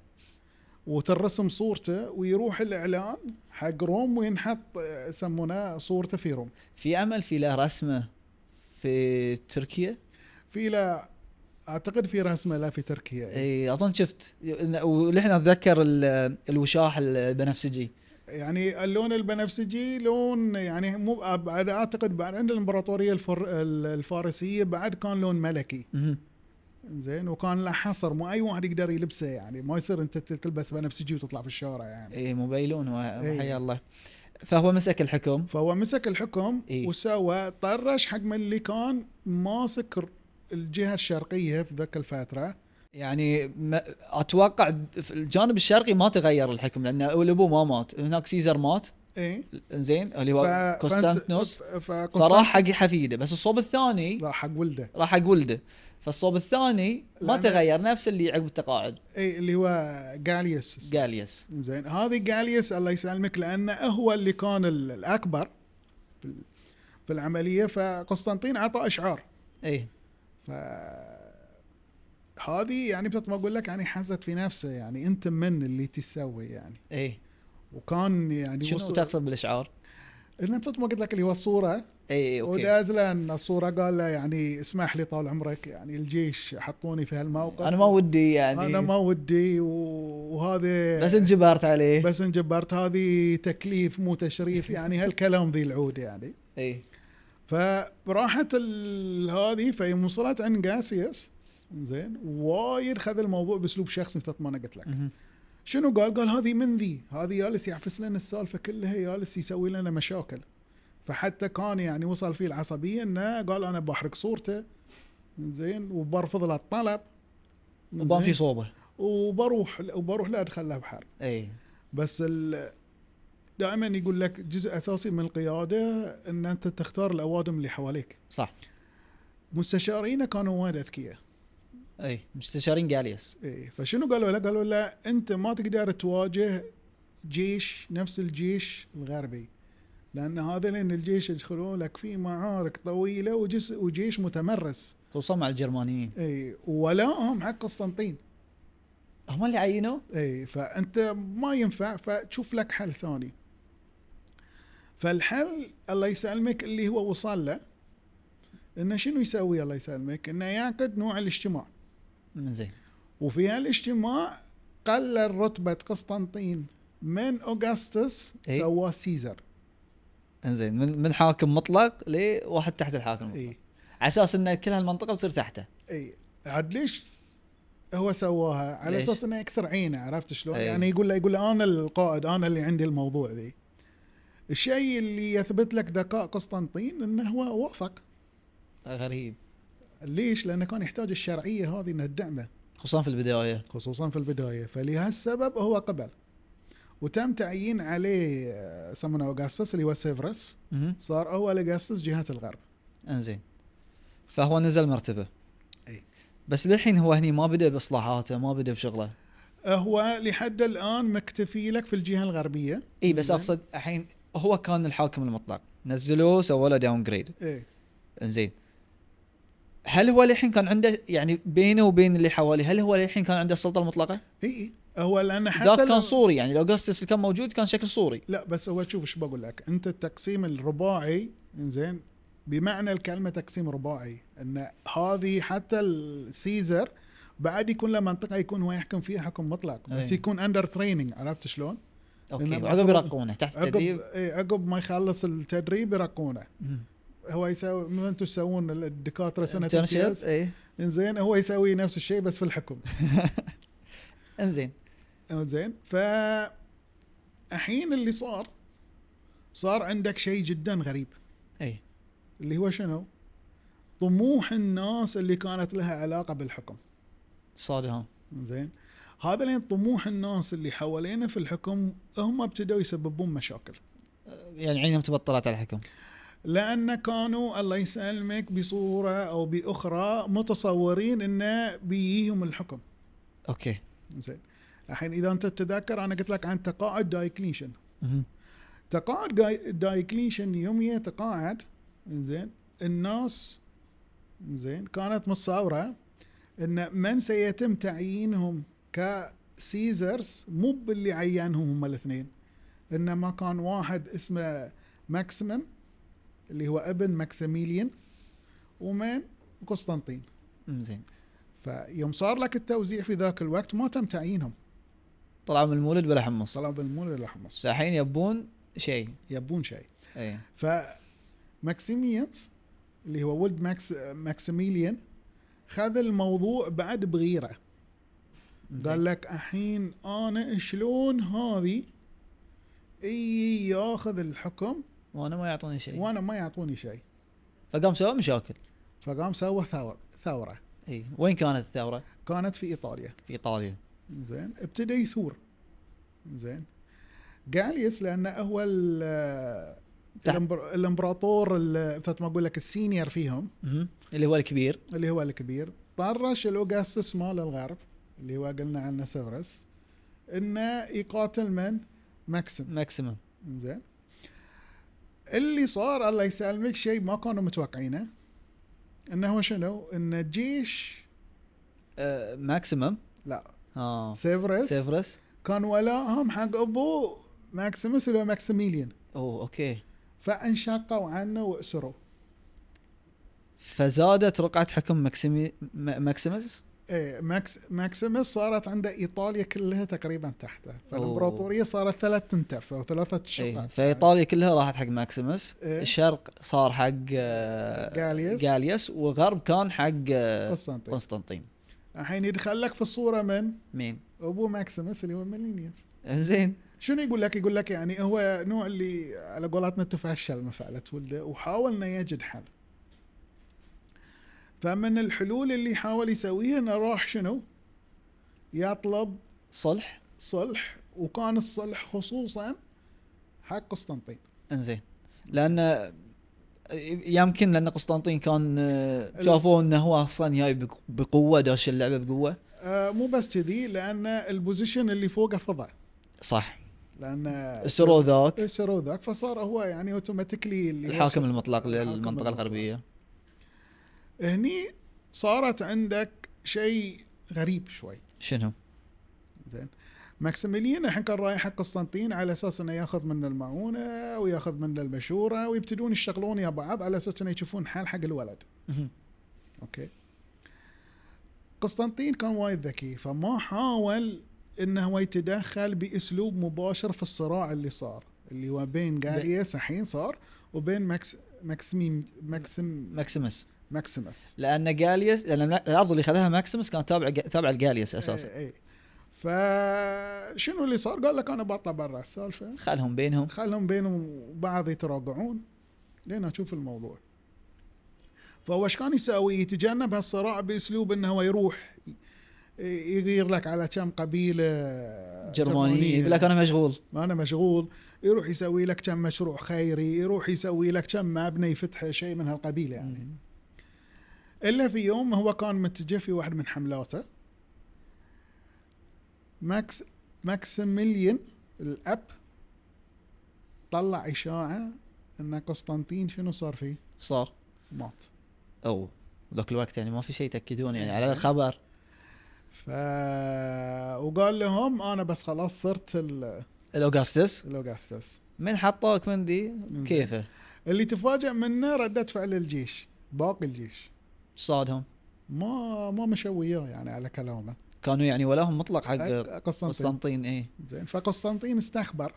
Speaker 2: وترسم صورته ويروح الإعلان حق روم وينحط آه، يسمونه صورته في روم
Speaker 1: في امل في له رسمه في تركيا
Speaker 2: في لا اعتقد في رسمه لا في تركيا
Speaker 1: اي اظن شفت ولحنا اتذكر ال- الوشاح البنفسجي
Speaker 2: يعني اللون البنفسجي لون يعني مو بعد- اعتقد بعد عند الامبراطوريه الفر الفارسيه بعد كان لون ملكي
Speaker 1: مهم.
Speaker 2: زين وكان له حصر مو اي واحد يقدر يلبسه يعني ما يصير انت ت- تلبس بنفسجي وتطلع في الشارع يعني
Speaker 1: اي موبايلون
Speaker 2: إي.
Speaker 1: حيا الله فهو مسك الحكم
Speaker 2: فهو مسك الحكم
Speaker 1: إيه.
Speaker 2: وسوى طرش حق من اللي كان ماسك ر- الجهه الشرقيه في ذاك الفتره
Speaker 1: يعني ما اتوقع في الجانب الشرقي ما تغير الحكم لان الابو ما مات هناك سيزر مات
Speaker 2: اي
Speaker 1: زين اللي هو
Speaker 2: إيه. ف-
Speaker 1: كونستانتينوس
Speaker 2: فأنت- فقسطنط-
Speaker 1: فراح حق حفيده بس الصوب الثاني
Speaker 2: راح حق ولده
Speaker 1: راح حق ولده فالصوب الثاني ما
Speaker 2: لأن-
Speaker 1: تغير نفس اللي عقب التقاعد
Speaker 2: اي إيه، اللي هو جاليوس
Speaker 1: جاليوس
Speaker 2: زين هذه جاليوس الله يسلمك لانه هو اللي كان ال- الاكبر في ال- في العمليه فقسطنطين عطى اشعار
Speaker 1: اي
Speaker 2: ف هذه يعني مثل ما اقول لك يعني حزت في نفسه يعني انت من اللي تسوي يعني
Speaker 1: اي
Speaker 2: وكان يعني
Speaker 1: إيه. شنو تقصد إيه، بالاشعار؟
Speaker 2: انا مثل ما قلت لك اللي هو الصوره
Speaker 1: اي اوكي
Speaker 2: ودازله ان الصوره قال له يعني اسمح لي طال عمرك يعني الجيش حطوني في هالموقف
Speaker 1: انا ما ودي يعني
Speaker 2: انا ما ودي و- وهذا
Speaker 1: بس انجبرت عليه
Speaker 2: بس انجبرت هذه تكليف مو تشريف يعني هالكلام ذي العود يعني
Speaker 1: اي
Speaker 2: فراحت ال- هذه فيوم وصلت عند قاسيوس زين وايد خذ الموضوع باسلوب شخصي مثل ما انا قلت لك
Speaker 1: مهم.
Speaker 2: شنو قال؟ قال هذه من ذي هذه يالس يعفس لنا السالفه كلها يالس يسوي لنا مشاكل فحتى كان يعني وصل فيه العصبيه انه قال انا بحرق صورته زين وبرفض له الطلب
Speaker 1: وبامشي
Speaker 2: زين؟
Speaker 1: صوبه إيه،
Speaker 2: وبروح وبروح لا ادخل لها بحرب
Speaker 1: اي
Speaker 2: بس ال... دائما يقول لك جزء اساسي من القياده ان انت تختار الاوادم اللي حواليك
Speaker 1: صح
Speaker 2: مستشارينا كانوا وايد اذكياء
Speaker 1: اي إيه. مستشارين جاليوس
Speaker 2: إيه فشنو قالوا له قالوا له انت ما تقدر تواجه جيش نفس الجيش الغربي لان هذا لان الجيش يدخلون لك في معارك طويله وجس وجيش متمرس
Speaker 1: توصل مع الجرمانيين
Speaker 2: اي ولاهم حق قسطنطين
Speaker 1: هم اللي عينوه
Speaker 2: اي فانت ما ينفع فتشوف لك حل ثاني فالحل الله يسلمك اللي هو وصل له انه شنو يسوي الله يسلمك انه يعقد نوع الاجتماع
Speaker 1: من زين
Speaker 2: وفي هالاجتماع قلل رتبة قسطنطين من أوغسطس
Speaker 1: إي.
Speaker 2: سواه سيزر
Speaker 1: انزين من من حاكم مطلق لواحد تحت الحاكم المطلق.
Speaker 2: اي
Speaker 1: على اساس ان كل هالمنطقه بتصير تحته
Speaker 2: اي إيه. عاد ليش هو سواها على
Speaker 1: ليش؟
Speaker 2: اساس انه يكسر عينه عرفت شلون؟
Speaker 1: إي.
Speaker 2: يعني يقول له يقول له انا القائد انا اللي عندي الموضوع ذي. الشيء اللي يثبت لك ذكاء قسطنطين انه هو وافق
Speaker 1: غريب
Speaker 2: ليش؟ لانه كان يحتاج الشرعيه هذه انها تدعمه
Speaker 1: خصوصا في البدايه
Speaker 2: خصوصا في البدايه فلهالسبب هو قبل. وتم تعيين عليه آه، سمونا اوغسطس اللي هو سيفرس
Speaker 1: مهم.
Speaker 2: صار هو لقاسس جهة الغرب
Speaker 1: انزين فهو نزل مرتبه
Speaker 2: أي.
Speaker 1: بس للحين هو هني ما بدا باصلاحاته ما بدا بشغله
Speaker 2: هو لحد الآن مكتفي لك في الجهة الغربية
Speaker 1: اي بس
Speaker 2: مم.
Speaker 1: اقصد الحين هو كان الحاكم المطلق نزلوه سووا له داون جريد
Speaker 2: إيه
Speaker 1: انزين هل هو للحين كان عنده يعني بينه وبين اللي حواليه هل هو للحين كان عنده السلطه المطلقه؟
Speaker 2: إيه إيه هو لأن حتى
Speaker 1: ذاك
Speaker 2: لو-
Speaker 1: كان صوري يعني الاوغسطس اللي كان موجود كان شكل صوري
Speaker 2: لا بس هو شوف ايش بقول لك أنت التقسيم الرباعي زين بمعنى الكلمة تقسيم رباعي أن هذه حتى السيزر بعد يكون له منطقة يكون هو يحكم فيها حكم مطلق بس
Speaker 1: إيه.
Speaker 2: يكون أندر تريننج عرفت شلون؟
Speaker 1: اوكي
Speaker 2: إنما
Speaker 1: عقب
Speaker 2: عقب-
Speaker 1: يرقونه تحت
Speaker 2: عقب
Speaker 1: التدريب
Speaker 2: إيه عقب ما يخلص التدريب يرقونه
Speaker 1: مم.
Speaker 2: هو يسوي مثل انتم تسوون الدكاترة سنة
Speaker 1: Internship،
Speaker 2: امتياز
Speaker 1: اي
Speaker 2: انزين هو يسوي نفس الشيء بس في الحكم
Speaker 1: انزين
Speaker 2: زين ف الحين اللي صار صار عندك شيء جدا غريب
Speaker 1: اي
Speaker 2: اللي هو شنو؟ طموح الناس اللي كانت لها علاقه بالحكم
Speaker 1: صادهم
Speaker 2: زين هذا لين طموح الناس اللي حوالينا في الحكم هم ابتدوا يسببون مشاكل
Speaker 1: يعني عينهم تبطلت على الحكم
Speaker 2: لان كانوا الله يسلمك بصوره او باخرى متصورين انه بيجيهم الحكم
Speaker 1: اوكي
Speaker 2: زين الحين اذا انت تتذكر انا قلت لك عن تقاعد دايكليشن
Speaker 1: مهم.
Speaker 2: تقاعد داي- دايوكليشن يوم يتقاعد زين الناس زين كانت متصوره ان من سيتم تعيينهم كسيزرز مو باللي عينهم هم الاثنين انما كان واحد اسمه ماكسيمم اللي هو ابن ماكسيميليان ومن قسطنطين
Speaker 1: زين
Speaker 2: فيوم صار لك التوزيع في ذاك الوقت ما تم تعيينهم
Speaker 1: طلعوا من المولد بلا حمص
Speaker 2: طلب المولى الحمص
Speaker 1: الحين يبون إيه، شيء
Speaker 2: يبون شيء
Speaker 1: اي
Speaker 2: ف ماكسيميانز اللي هو ولد ماكس ماكسيميليان خذ الموضوع بعد بغيره قال لك الحين انا شلون هذه اي ياخذ الحكم
Speaker 1: وانا ما يعطوني شيء
Speaker 2: وانا ما يعطوني شيء
Speaker 1: فقام سووا مشاكل
Speaker 2: فقام سوى ثور ثوره
Speaker 1: اي وين كانت الثوره؟
Speaker 2: كانت في ايطاليا
Speaker 1: في ايطاليا
Speaker 2: زين ابتدى يثور زين جاليوس لانه هو ال-
Speaker 1: تحت-
Speaker 2: الإمبر- الامبراطور ال- فت ما اقول لك السينيور فيهم
Speaker 1: مهم. اللي هو الكبير
Speaker 2: اللي هو الكبير طرش الاوغاسس مال الغرب اللي هو قلنا عنه سيفرس انه يقاتل من ماكسيم
Speaker 1: ماكسيمم
Speaker 2: زين اللي صار الله يسلمك شيء ما كانوا متوقعينه انه هو شنو؟ ان الجيش
Speaker 1: آه ماكسيمم
Speaker 2: لا
Speaker 1: اه
Speaker 2: سيفرس
Speaker 1: سيفرس
Speaker 2: كان ولاهم حق ابوه ماكسيموس اللي هو ماكسيميليان
Speaker 1: اوه اوكي
Speaker 2: فانشقوا عنه واسروا
Speaker 1: فزادت رقعه حكم ماكسيمي م- ماكسيمس
Speaker 2: إيه، ماكس ماكسيمس صارت عنده ايطاليا كلها تقريبا تحته فالامبراطوريه صارت ثلاث تنتف او ثلاثه شقق يعني
Speaker 1: اي فايطاليا إيه، كلها راحت حق ماكسيمس
Speaker 2: إيه.
Speaker 1: الشرق صار حق آه،
Speaker 2: جاليوس.
Speaker 1: جاليوس والغرب كان حق آه،
Speaker 2: قسطنطين
Speaker 1: قسطنطين
Speaker 2: الحين يدخل لك في الصوره من
Speaker 1: مين؟ إيه،
Speaker 2: ابو ماكسيمس اللي هو ميلينيوس
Speaker 1: انزين
Speaker 2: شنو يقول لك؟ يقول لك يعني هو نوع اللي على قولتنا تفشل ما فعلت ولده وحاول انه يجد حل. فمن الحلول اللي حاول يسويها انه راح شنو؟ يطلب
Speaker 1: صلح
Speaker 2: صلح وكان الصلح خصوصا حق قسطنطين
Speaker 1: انزين لان يمكن لان قسطنطين كان آه، شافوه انه هو اصلا جاي بق- بقوه داش اللعبه بقوه
Speaker 2: آه مو بس كذي لان البوزيشن اللي فوقه فضى
Speaker 1: صح
Speaker 2: لان
Speaker 1: سرو ذاك
Speaker 2: سرو ذاك فصار هو يعني اوتوماتيكلي اللي هو
Speaker 1: الحاكم
Speaker 2: شخص-
Speaker 1: المطلق
Speaker 2: الحاكم
Speaker 1: للمنطقه
Speaker 2: المطلق.
Speaker 1: الغربيه
Speaker 2: هني صارت عندك شيء غريب شوي
Speaker 1: شنو؟
Speaker 2: زين ماكسيميليان الحين كان رايح حق قسطنطين على اساس انه ياخذ منه المعونه وياخذ منه المشوره ويبتدون يشتغلون يا بعض على اساس انه يشوفون حل حق الولد
Speaker 1: مهم.
Speaker 2: اوكي قسطنطين كان وايد ذكي فما حاول انه هو يتدخل باسلوب مباشر في الصراع اللي صار اللي هو بين جاليس الحين صار وبين ماكس ماكسيم ماكسيم
Speaker 1: ماكسيمس
Speaker 2: ماكسيمس
Speaker 1: لان جاليوس لان الارض اللي خذها ماكسيمس كان تابع تابع لجاليوس اساسا
Speaker 2: اي إيه، فشنو اللي صار؟ قال لك انا بطلع برا السالفه
Speaker 1: خلهم بينهم
Speaker 2: خلهم بينهم وبعض يتراجعون لين اشوف الموضوع فهو ايش كان يسوي؟ يتجنب هالصراع باسلوب انه هو يروح ي- يغير لك على كم قبيله
Speaker 1: جرمانيين يقول لك انا مشغول
Speaker 2: ما انا مشغول يروح يسوي لك كم مشروع خيري يروح يسوي لك كم مبنى يفتح شيء من هالقبيله يعني الا في يوم هو كان متجه في واحد من حملاته ماكس ماكسيميليان الاب طلع اشاعه ان قسطنطين شنو صار فيه؟
Speaker 1: صار
Speaker 2: مات
Speaker 1: او ذاك الوقت يعني ما في شيء يتاكدون
Speaker 2: إيه.
Speaker 1: يعني على الخبر
Speaker 2: ف وقال لهم انا بس خلاص صرت ال-
Speaker 1: الاوغستس
Speaker 2: الاوغستس
Speaker 1: من حطوك من دي كيفه
Speaker 2: اللي تفاجئ منه رده فعل الجيش باقي الجيش
Speaker 1: صادهم
Speaker 2: ما ما مشوا وياه يعني على كلامه
Speaker 1: كانوا يعني ولاهم مطلق حق
Speaker 2: أك- قسطنطين
Speaker 1: قسطنطين ايه
Speaker 2: زين فقسطنطين استخبر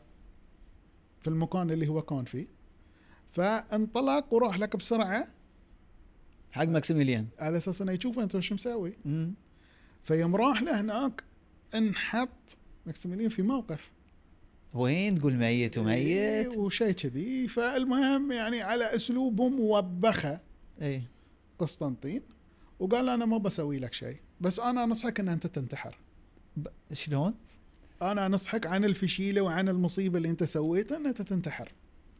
Speaker 2: في المكان اللي هو كان فيه فانطلق وراح لك بسرعه
Speaker 1: حق ماكسيميليان
Speaker 2: على اساس انه يشوف انت وش مسوي
Speaker 1: مم.
Speaker 2: فيوم راح لهناك انحط ماكسيميليان في موقف
Speaker 1: وين تقول ميت وميت
Speaker 2: إيه، وشيء كذي فالمهم يعني على اسلوبهم وبخه
Speaker 1: اي
Speaker 2: قسطنطين وقال انا ما بسوي لك شيء بس انا انصحك ان انت تنتحر
Speaker 1: ب- شلون
Speaker 2: انا انصحك عن الفشيله وعن المصيبه اللي انت سويتها ان انت تنتحر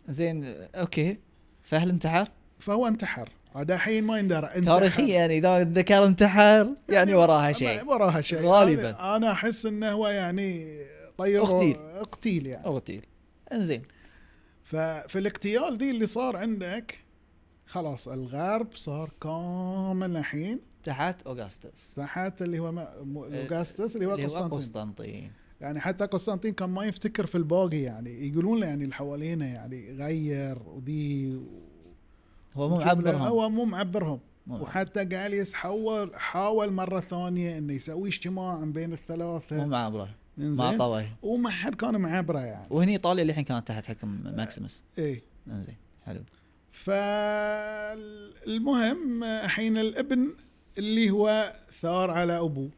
Speaker 1: زين اوكي فهل انتحر
Speaker 2: فهو انتحر هذا الحين ما يندرى انتحر.
Speaker 1: تاريخيا يعني اذا ذكر انتحر يعني
Speaker 2: [laughs]
Speaker 1: وراها شيء
Speaker 2: وراها شيء
Speaker 1: غالباً.
Speaker 2: أنا- انا احس انه هو يعني طير
Speaker 1: اغتيل.
Speaker 2: اقتيل يعني
Speaker 1: اوتيل انزين
Speaker 2: ففي الاغتيال ذي اللي صار عندك خلاص الغرب صار كامل الحين
Speaker 1: تحت اوغستس
Speaker 2: تحت اللي هو ما- مو- اوغستس اللي هو
Speaker 1: إيه، اللي هو
Speaker 2: قسطنطين
Speaker 1: قسطنطين
Speaker 2: يعني حتى قسطنطين كان ما يفتكر في الباقي يعني يقولون له يعني اللي حوالينا يعني غير وذي
Speaker 1: هو مو معبرهم
Speaker 2: هو مو معبرهم
Speaker 1: مو معبر.
Speaker 2: وحتى جاليس حاول حاول مره ثانيه انه يسوي اجتماع بين
Speaker 1: مو
Speaker 2: الثلاثه
Speaker 1: معبره ما
Speaker 2: إنزين.
Speaker 1: عطوه
Speaker 2: وما حد كان معبره يعني
Speaker 1: وهني ايطاليا اللي الحين كانت تحت حكم ماكسيمس
Speaker 2: ايه
Speaker 1: انزين حلو
Speaker 2: فالمهم حين الابن اللي هو ثار على ابوه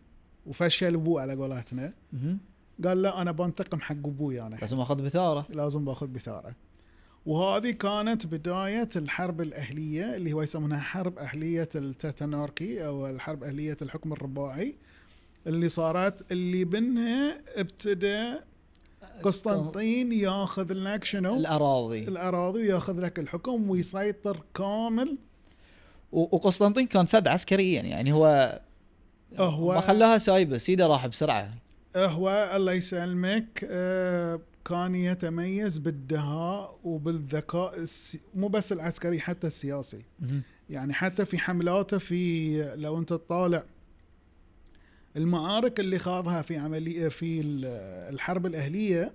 Speaker 2: وفشل ابوه على قولتنا
Speaker 1: مهم.
Speaker 2: قال لا انا بنتقم حق ابوي انا
Speaker 1: بس ما اخذ بثاره
Speaker 2: لازم باخذ بثاره وهذه كانت بداية الحرب الأهلية اللي هو يسمونها حرب أهلية التاتناركي أو الحرب أهلية الحكم الرباعي اللي صارت اللي منها ابتدى قسطنطين ياخذ لك شنو؟
Speaker 1: الاراضي
Speaker 2: الأراضي وياخذ لك الحكم ويسيطر كامل
Speaker 1: و- وقسطنطين كان فد عسكريا يعني هو ما
Speaker 2: هو
Speaker 1: خلاها سايبه سيده راح بسرعه
Speaker 2: هو الله يسلمك آه، كان يتميز بالدهاء وبالذكاء السي- مو بس العسكري حتى السياسي
Speaker 1: مهم.
Speaker 2: يعني حتى في حملاته في لو انت تطالع المعارك اللي خاضها في عملية في ال- الحرب الأهلية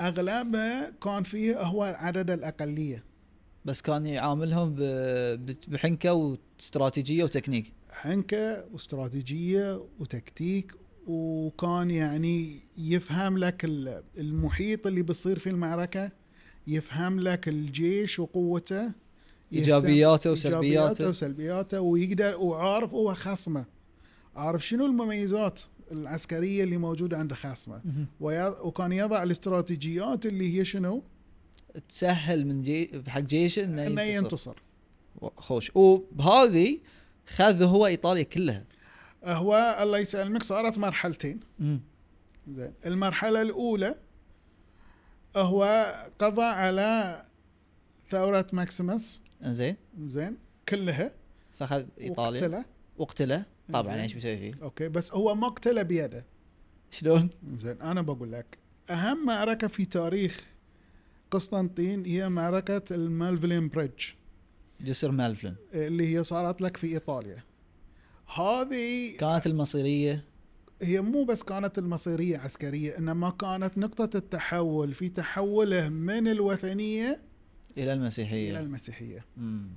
Speaker 2: أغلبها كان فيه هو عدد الأقلية
Speaker 1: بس كان يعاملهم ب- ب- بحنكه واستراتيجيه وتكنيك
Speaker 2: حنكة واستراتيجية وتكتيك وكان يعني يفهم لك ال- المحيط اللي بيصير في المعركة يفهم لك الجيش وقوته يهتم-
Speaker 1: إيجابياته وسلبياته.
Speaker 2: إيجابياته وسلبياته ويقدر وعارف هو خصمه عارف شنو المميزات العسكرية اللي موجودة عند خصمه
Speaker 1: مهم.
Speaker 2: ويا- وكان يضع الاستراتيجيات اللي هي شنو
Speaker 1: تسهل من جي حق جيشه انه
Speaker 2: انه
Speaker 1: ينتصر
Speaker 2: ينتصر
Speaker 1: خوش وبهذه خذ هو ايطاليا كلها
Speaker 2: هو الله يسلمك صارت مرحلتين
Speaker 3: مم.
Speaker 2: زين المرحلة الأولى هو قضى على ثورة ماكسيمس
Speaker 1: زين
Speaker 2: زين كلها
Speaker 1: فاخذ ايطاليا
Speaker 2: وقتله
Speaker 1: وقتله طبعا
Speaker 2: إنزين.
Speaker 1: ايش بيسوي فيه؟
Speaker 2: اوكي بس هو مقتله بيده
Speaker 1: شلون؟
Speaker 2: زين انا بقول لك اهم معركه في تاريخ قسطنطين هي معركه المالفلين بريدج
Speaker 1: جسر مالفلن
Speaker 2: إيه. اللي هي صارت لك في ايطاليا هذه
Speaker 1: كانت المصيريه
Speaker 2: هي مو بس كانت المصيريه عسكريه انما كانت نقطه التحول في تحوله من الوثنيه
Speaker 1: الى
Speaker 2: الى
Speaker 1: المسيحيه
Speaker 2: المسيحيه
Speaker 1: مم.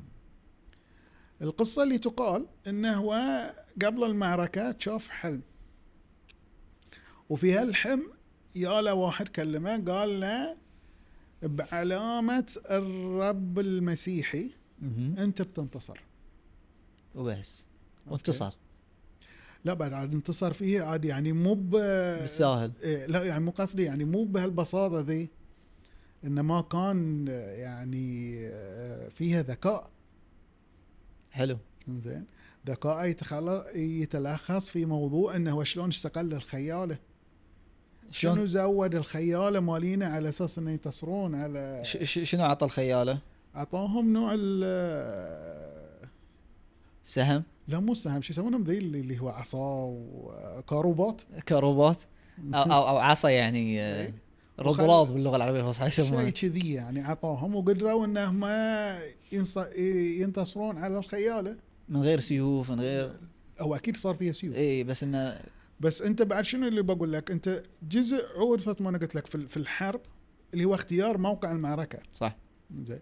Speaker 2: القصة اللي تقال انه هو قبل المعركة شاف حلم وفي هالحلم يا له واحد كلمه قال له بعلامة الرب المسيحي
Speaker 1: مهم.
Speaker 2: انت بتنتصر
Speaker 1: وبس وانتصر
Speaker 2: لا بعد عاد انتصر فيه عاد يعني مو ب
Speaker 1: بالساهل
Speaker 2: إيه، لا يعني مو قصدي يعني مو بهالبساطة ذي انه ما كان آه، يعني آه، فيها ذكاء
Speaker 1: حلو
Speaker 2: زين ذكاءه يتخل- يتلخص في موضوع انه هو شلون استقل الخياله شنو
Speaker 1: شلون
Speaker 2: زود الخياله مالينا على اساس انه يتصرون على
Speaker 1: ش- ش- شنو عطى الخياله؟
Speaker 2: اعطاهم نوع ال
Speaker 1: سهم
Speaker 2: لا مو سهم شو يسمونهم ذي اللي اللي هو عصا وكاروبوت
Speaker 1: كروبوت او او, أو عصا يعني آه،
Speaker 2: [laughs] إيه.
Speaker 1: رضراض باللغه العربيه الفصحى
Speaker 2: شيء
Speaker 1: يسمونه
Speaker 2: كذي يعني اعطاهم وقدروا انهم ينص- ينتصرون على الخياله
Speaker 1: من غير سيوف من
Speaker 2: [laughs]
Speaker 1: غير
Speaker 2: او اكيد صار فيها سيوف
Speaker 1: اي بس انه
Speaker 2: بس انت بعد شنو اللي بقول لك انت جزء عود مثل ما انا قلت لك في ال- في الحرب اللي هو اختيار موقع المعركه
Speaker 1: صح
Speaker 2: زين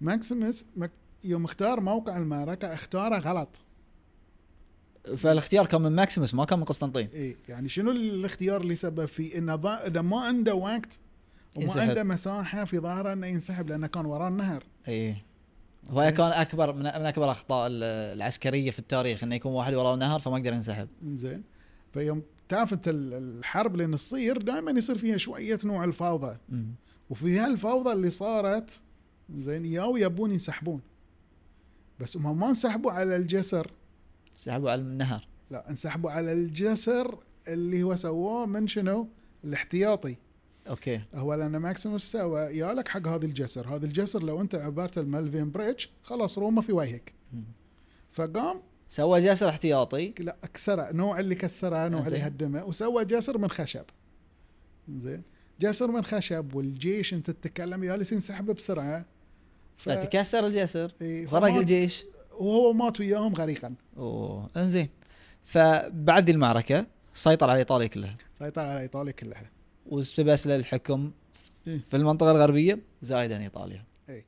Speaker 2: ماكسيمس مك... يوم اختار موقع المعركه اختاره غلط
Speaker 1: فالاختيار كان من ماكسيموس ما كان من قسطنطين
Speaker 2: اي يعني شنو الاختيار اللي سبب فيه انه ضا- انه ما عنده وقت وما
Speaker 1: ينسحب.
Speaker 2: عنده مساحه في ظهره انه ينسحب لانه كان وراه النهر
Speaker 1: اي إيه. هو
Speaker 2: إيه.
Speaker 1: كان اكبر من, من اكبر اخطاء ال- العسكريه في التاريخ انه يكون واحد وراه نهر فما يقدر ينسحب
Speaker 2: زين فيوم تعرف انت ال- الحرب اللي تصير دائما يصير فيها شويه نوع الفوضى
Speaker 1: مم.
Speaker 2: وفي هالفوضى اللي صارت زين ياو يبون ينسحبون بس هم ما انسحبوا على الجسر
Speaker 1: سحبوا على النهر
Speaker 2: لا انسحبوا على الجسر اللي هو سووه من شنو؟ الاحتياطي
Speaker 1: اوكي
Speaker 2: هو لان ماكسيموس سوى يالك حق هذا الجسر، هذا الجسر لو انت عبرت الملفين بريتش خلاص روما في وجهك.
Speaker 1: مم.
Speaker 2: فقام
Speaker 1: سوى جسر احتياطي
Speaker 2: لا اكسره نوع اللي كسره نوع اللي
Speaker 1: زين.
Speaker 2: هدمه وسوى جسر من خشب. زين جسر من خشب والجيش انت تتكلم جالس ينسحب بسرعه. ف-
Speaker 1: فتكسر الجسر
Speaker 2: إيه،
Speaker 1: غرق
Speaker 2: فمات-
Speaker 1: الجيش
Speaker 2: وهو مات وياهم غريقا
Speaker 1: اوه انزين فبعد ذي المعركه سيطر على ايطاليا كلها
Speaker 2: سيطر على ايطاليا كلها
Speaker 1: واستبث له الحكم
Speaker 2: إيه.
Speaker 1: في المنطقه الغربيه زائدا ايطاليا
Speaker 2: اي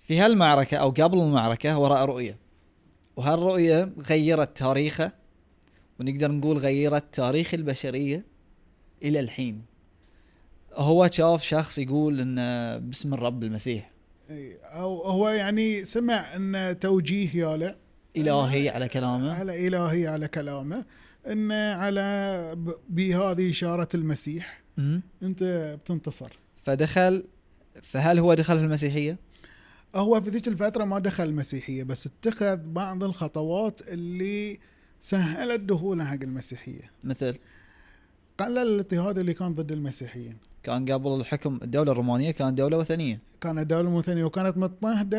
Speaker 1: في هالمعركة أو قبل المعركة وراء رؤية وهالرؤية غيرت تاريخه ونقدر نقول غيرت تاريخ البشرية إلى الحين هو شاف شخص يقول إنه باسم الرب المسيح
Speaker 2: اي او هو يعني سمع ان توجيه ياله
Speaker 1: إلهي على كلامه
Speaker 2: على الهي على كلامه ان على ب- بهذه اشاره المسيح
Speaker 1: مم.
Speaker 2: انت بتنتصر
Speaker 1: فدخل فهل هو دخل في المسيحية؟
Speaker 2: هو في ذيك الفتره ما دخل المسيحيه بس اتخذ بعض الخطوات اللي سهلت دخوله حق المسيحيه
Speaker 1: مثل
Speaker 2: قلل الاضطهاد اللي كان ضد المسيحيين
Speaker 1: كان قبل الحكم الدولة الرومانية كانت دولة وثنية
Speaker 2: كانت دولة مثنية وكانت مضطهدة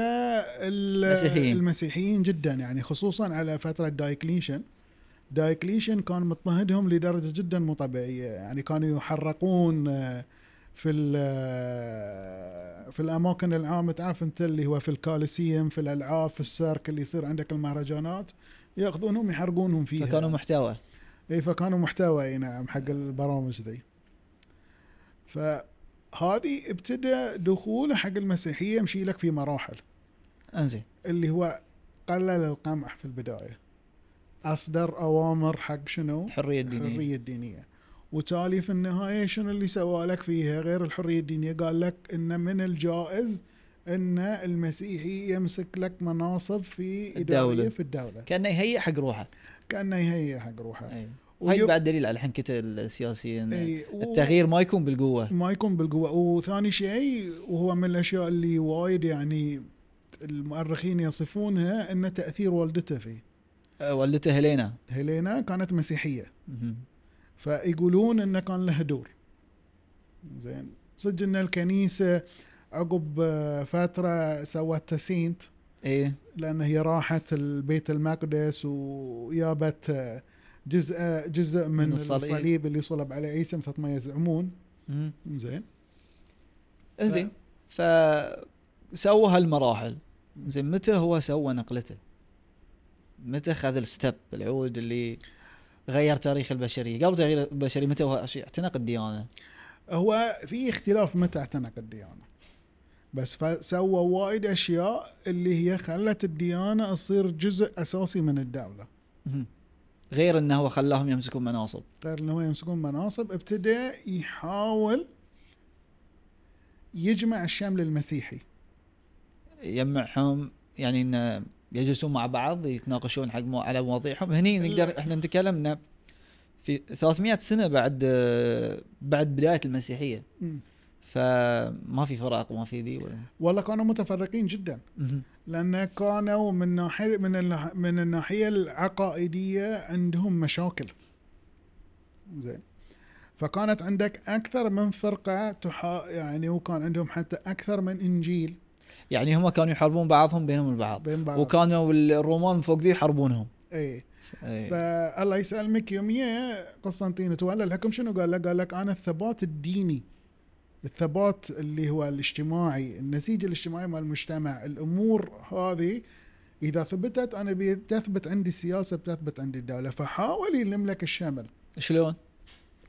Speaker 2: ال-
Speaker 1: المسيحيين.
Speaker 2: المسيحيين جدا يعني خصوصا على فترة دايكليشن دايكليشن كان مضطهدهم لدرجة جدا مو طبيعية يعني كانوا يحرقون آه، في ال- في الأماكن العامة تعرف أنت اللي هو في الكاليسيوم في الألعاب في السيرك اللي يصير عندك المهرجانات ياخذونهم يحرقونهم فيها
Speaker 1: فكانوا محتوى
Speaker 2: اي إيه، فكانوا محتوى اي نعم حق البرامج ذي فهذه ابتدى دخوله حق المسيحيه مشي لك في مراحل
Speaker 1: انزين
Speaker 2: اللي هو قلل القمع في البدايه اصدر اوامر حق شنو؟
Speaker 1: الحرية الدينية
Speaker 2: الحريه الدينيه وتالي في النهايه شنو اللي سوى لك فيها غير الحريه الدينيه قال لك ان من الجائز ان المسيحي يمسك لك مناصب في
Speaker 1: الدولة.
Speaker 2: اداريه في الدوله
Speaker 1: كأنه يهيئ حق روحه
Speaker 2: كانه يهيئ حق روحه
Speaker 1: أي. هاي
Speaker 2: ويب-
Speaker 1: بعد دليل على الحنكته السياسيه إن
Speaker 2: إي، و-
Speaker 1: التغيير ما يكون بالقوه
Speaker 2: ما يكون بالقوه وثاني شيء وهو من الاشياء اللي وايد يعني المؤرخين يصفونها ان تاثير والدته فيه
Speaker 1: آه، والدته هيلينا
Speaker 2: هيلينا كانت مسيحيه
Speaker 1: مهم.
Speaker 2: فيقولون انه كان له دور زين صدق ان الكنيسه عقب آه، فتره سوت تسينت
Speaker 1: ايه
Speaker 2: لان هي راحت البيت المقدس ويابت آه، جزء جزء من,
Speaker 1: من
Speaker 2: من
Speaker 1: الصليب.
Speaker 2: الصليب اللي صلب على عيسى مثل ما يزعمون
Speaker 1: مهم.
Speaker 2: زين
Speaker 1: زين ف سوى هالمراحل زين متى هو سوى نقلته؟ متى خذ الستب العود اللي غير تاريخ البشريه؟ قبل تغيير البشريه متى هو شيء- اعتنق الديانه؟
Speaker 2: هو في اختلاف متى اعتنقت الديانه بس ف- سوى وايد اشياء اللي هي خلت الديانه تصير جزء اساسي من الدوله
Speaker 1: مهم. غير انه هو خلاهم يمسكون مناصب
Speaker 2: غير انه هو يمسكون مناصب ابتدى يحاول يجمع الشمل المسيحي
Speaker 1: يجمعهم يعني انه يجلسون مع بعض يتناقشون حق مو على مواضيعهم هني نقدر احنا نتكلم انه في 300 سنه بعد بعد بدايه المسيحيه
Speaker 2: مم.
Speaker 1: فما في فرق ما في ذي ولا
Speaker 2: والله كانوا متفرقين جدا
Speaker 1: مهم.
Speaker 2: لان كانوا من ناحيه من الناح- من الناحيه العقائديه عندهم مشاكل زين فكانت عندك اكثر من فرقه تحا يعني وكان عندهم حتى اكثر من انجيل
Speaker 1: يعني هم كانوا يحاربون بعضهم بينهم البعض
Speaker 2: بين بعض
Speaker 1: وكانوا الرومان فوق ذي يحاربونهم
Speaker 2: اي
Speaker 1: إيه.
Speaker 2: فالله يسلمك يوميه قسطنطين تولى الحكم شنو قال لك؟ قال لك انا الثبات الديني الثبات اللي هو الاجتماعي النسيج الاجتماعي مال المجتمع الامور هذه اذا ثبتت انا بتثبت عندي السياسه بتثبت عندي الدوله فحاول يلم لك الشمل
Speaker 1: شلون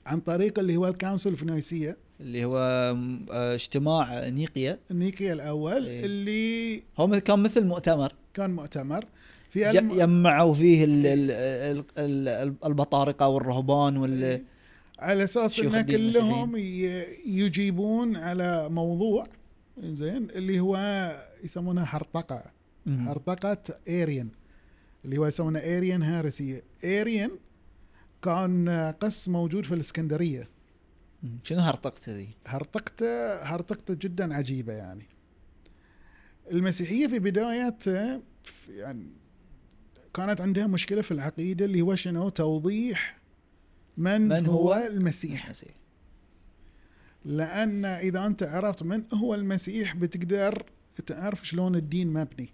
Speaker 2: عن طريق اللي هو الكونسل الفينيسيه
Speaker 1: اللي هو م- آه، اجتماع نيقيا
Speaker 2: النيقيا الاول
Speaker 1: إيه.
Speaker 2: اللي
Speaker 1: هو م- كان مثل مؤتمر
Speaker 2: كان مؤتمر في
Speaker 1: ج-
Speaker 2: الم...
Speaker 1: جمعوا فيه ال ال ال ال البطارقه والرهبان وال
Speaker 2: على اساس
Speaker 1: شيوخ
Speaker 2: ان
Speaker 1: الدين
Speaker 2: كلهم ي- يجيبون على موضوع زين اللي هو يسمونها هرطقه
Speaker 1: مهم.
Speaker 2: هرطقه اريان اللي هو يسمونه اريان هارسي اريان كان قس موجود في الاسكندريه
Speaker 1: مم. شنو هرطقت ذي؟
Speaker 2: هرطقته هرطقته جدا عجيبه يعني المسيحيه في بدايته ف- يعني كانت عندها مشكله في العقيده اللي هو شنو توضيح من,
Speaker 1: من
Speaker 2: من
Speaker 1: هو
Speaker 2: هو المسيح
Speaker 1: المسيح.
Speaker 2: لان اذا انت عرفت من هو المسيح بتقدر تعرف شلون الدين مبني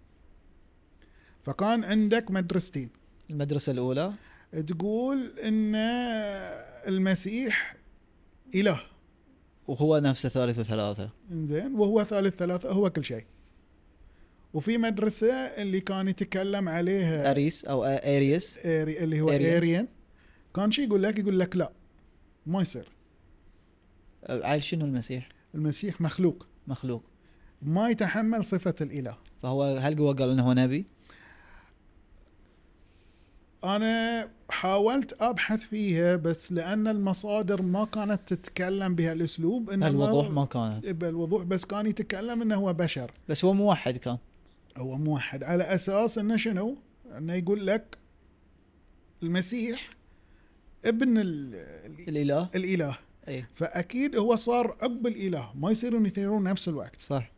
Speaker 2: فكان عندك مدرستين
Speaker 1: المدرسه الاولى
Speaker 2: تقول ان المسيح اله
Speaker 1: وهو نفسه ثالث وثلاثه
Speaker 2: انزين وهو ثالث ثلاثة هو كل شيء وفي مدرسة اللي كان يتكلم عليها
Speaker 1: اريس او آ- اريس
Speaker 2: إيري اللي هو
Speaker 1: أريان.
Speaker 2: اريان كان شي يقول لك يقول لك لا ما يصير
Speaker 1: آه، عيل شنو المسيح؟
Speaker 2: المسيح مخلوق
Speaker 1: مخلوق
Speaker 2: ما يتحمل صفة الاله
Speaker 1: فهو هل هو قال انه هو نبي؟
Speaker 2: انا حاولت ابحث فيها بس لان المصادر ما كانت تتكلم بهالاسلوب انما
Speaker 1: الوضوح ما كانت
Speaker 2: إيه، بالوضوح بس كان يتكلم انه هو بشر
Speaker 1: بس هو موحد كان
Speaker 2: هو موحد على اساس انه شنو؟ انه يقول لك المسيح ابن ال- ال-
Speaker 1: الاله
Speaker 2: الاله
Speaker 1: اي
Speaker 2: فاكيد هو صار عقب الاله ما يصيرون يثيرون نفس الوقت
Speaker 1: صح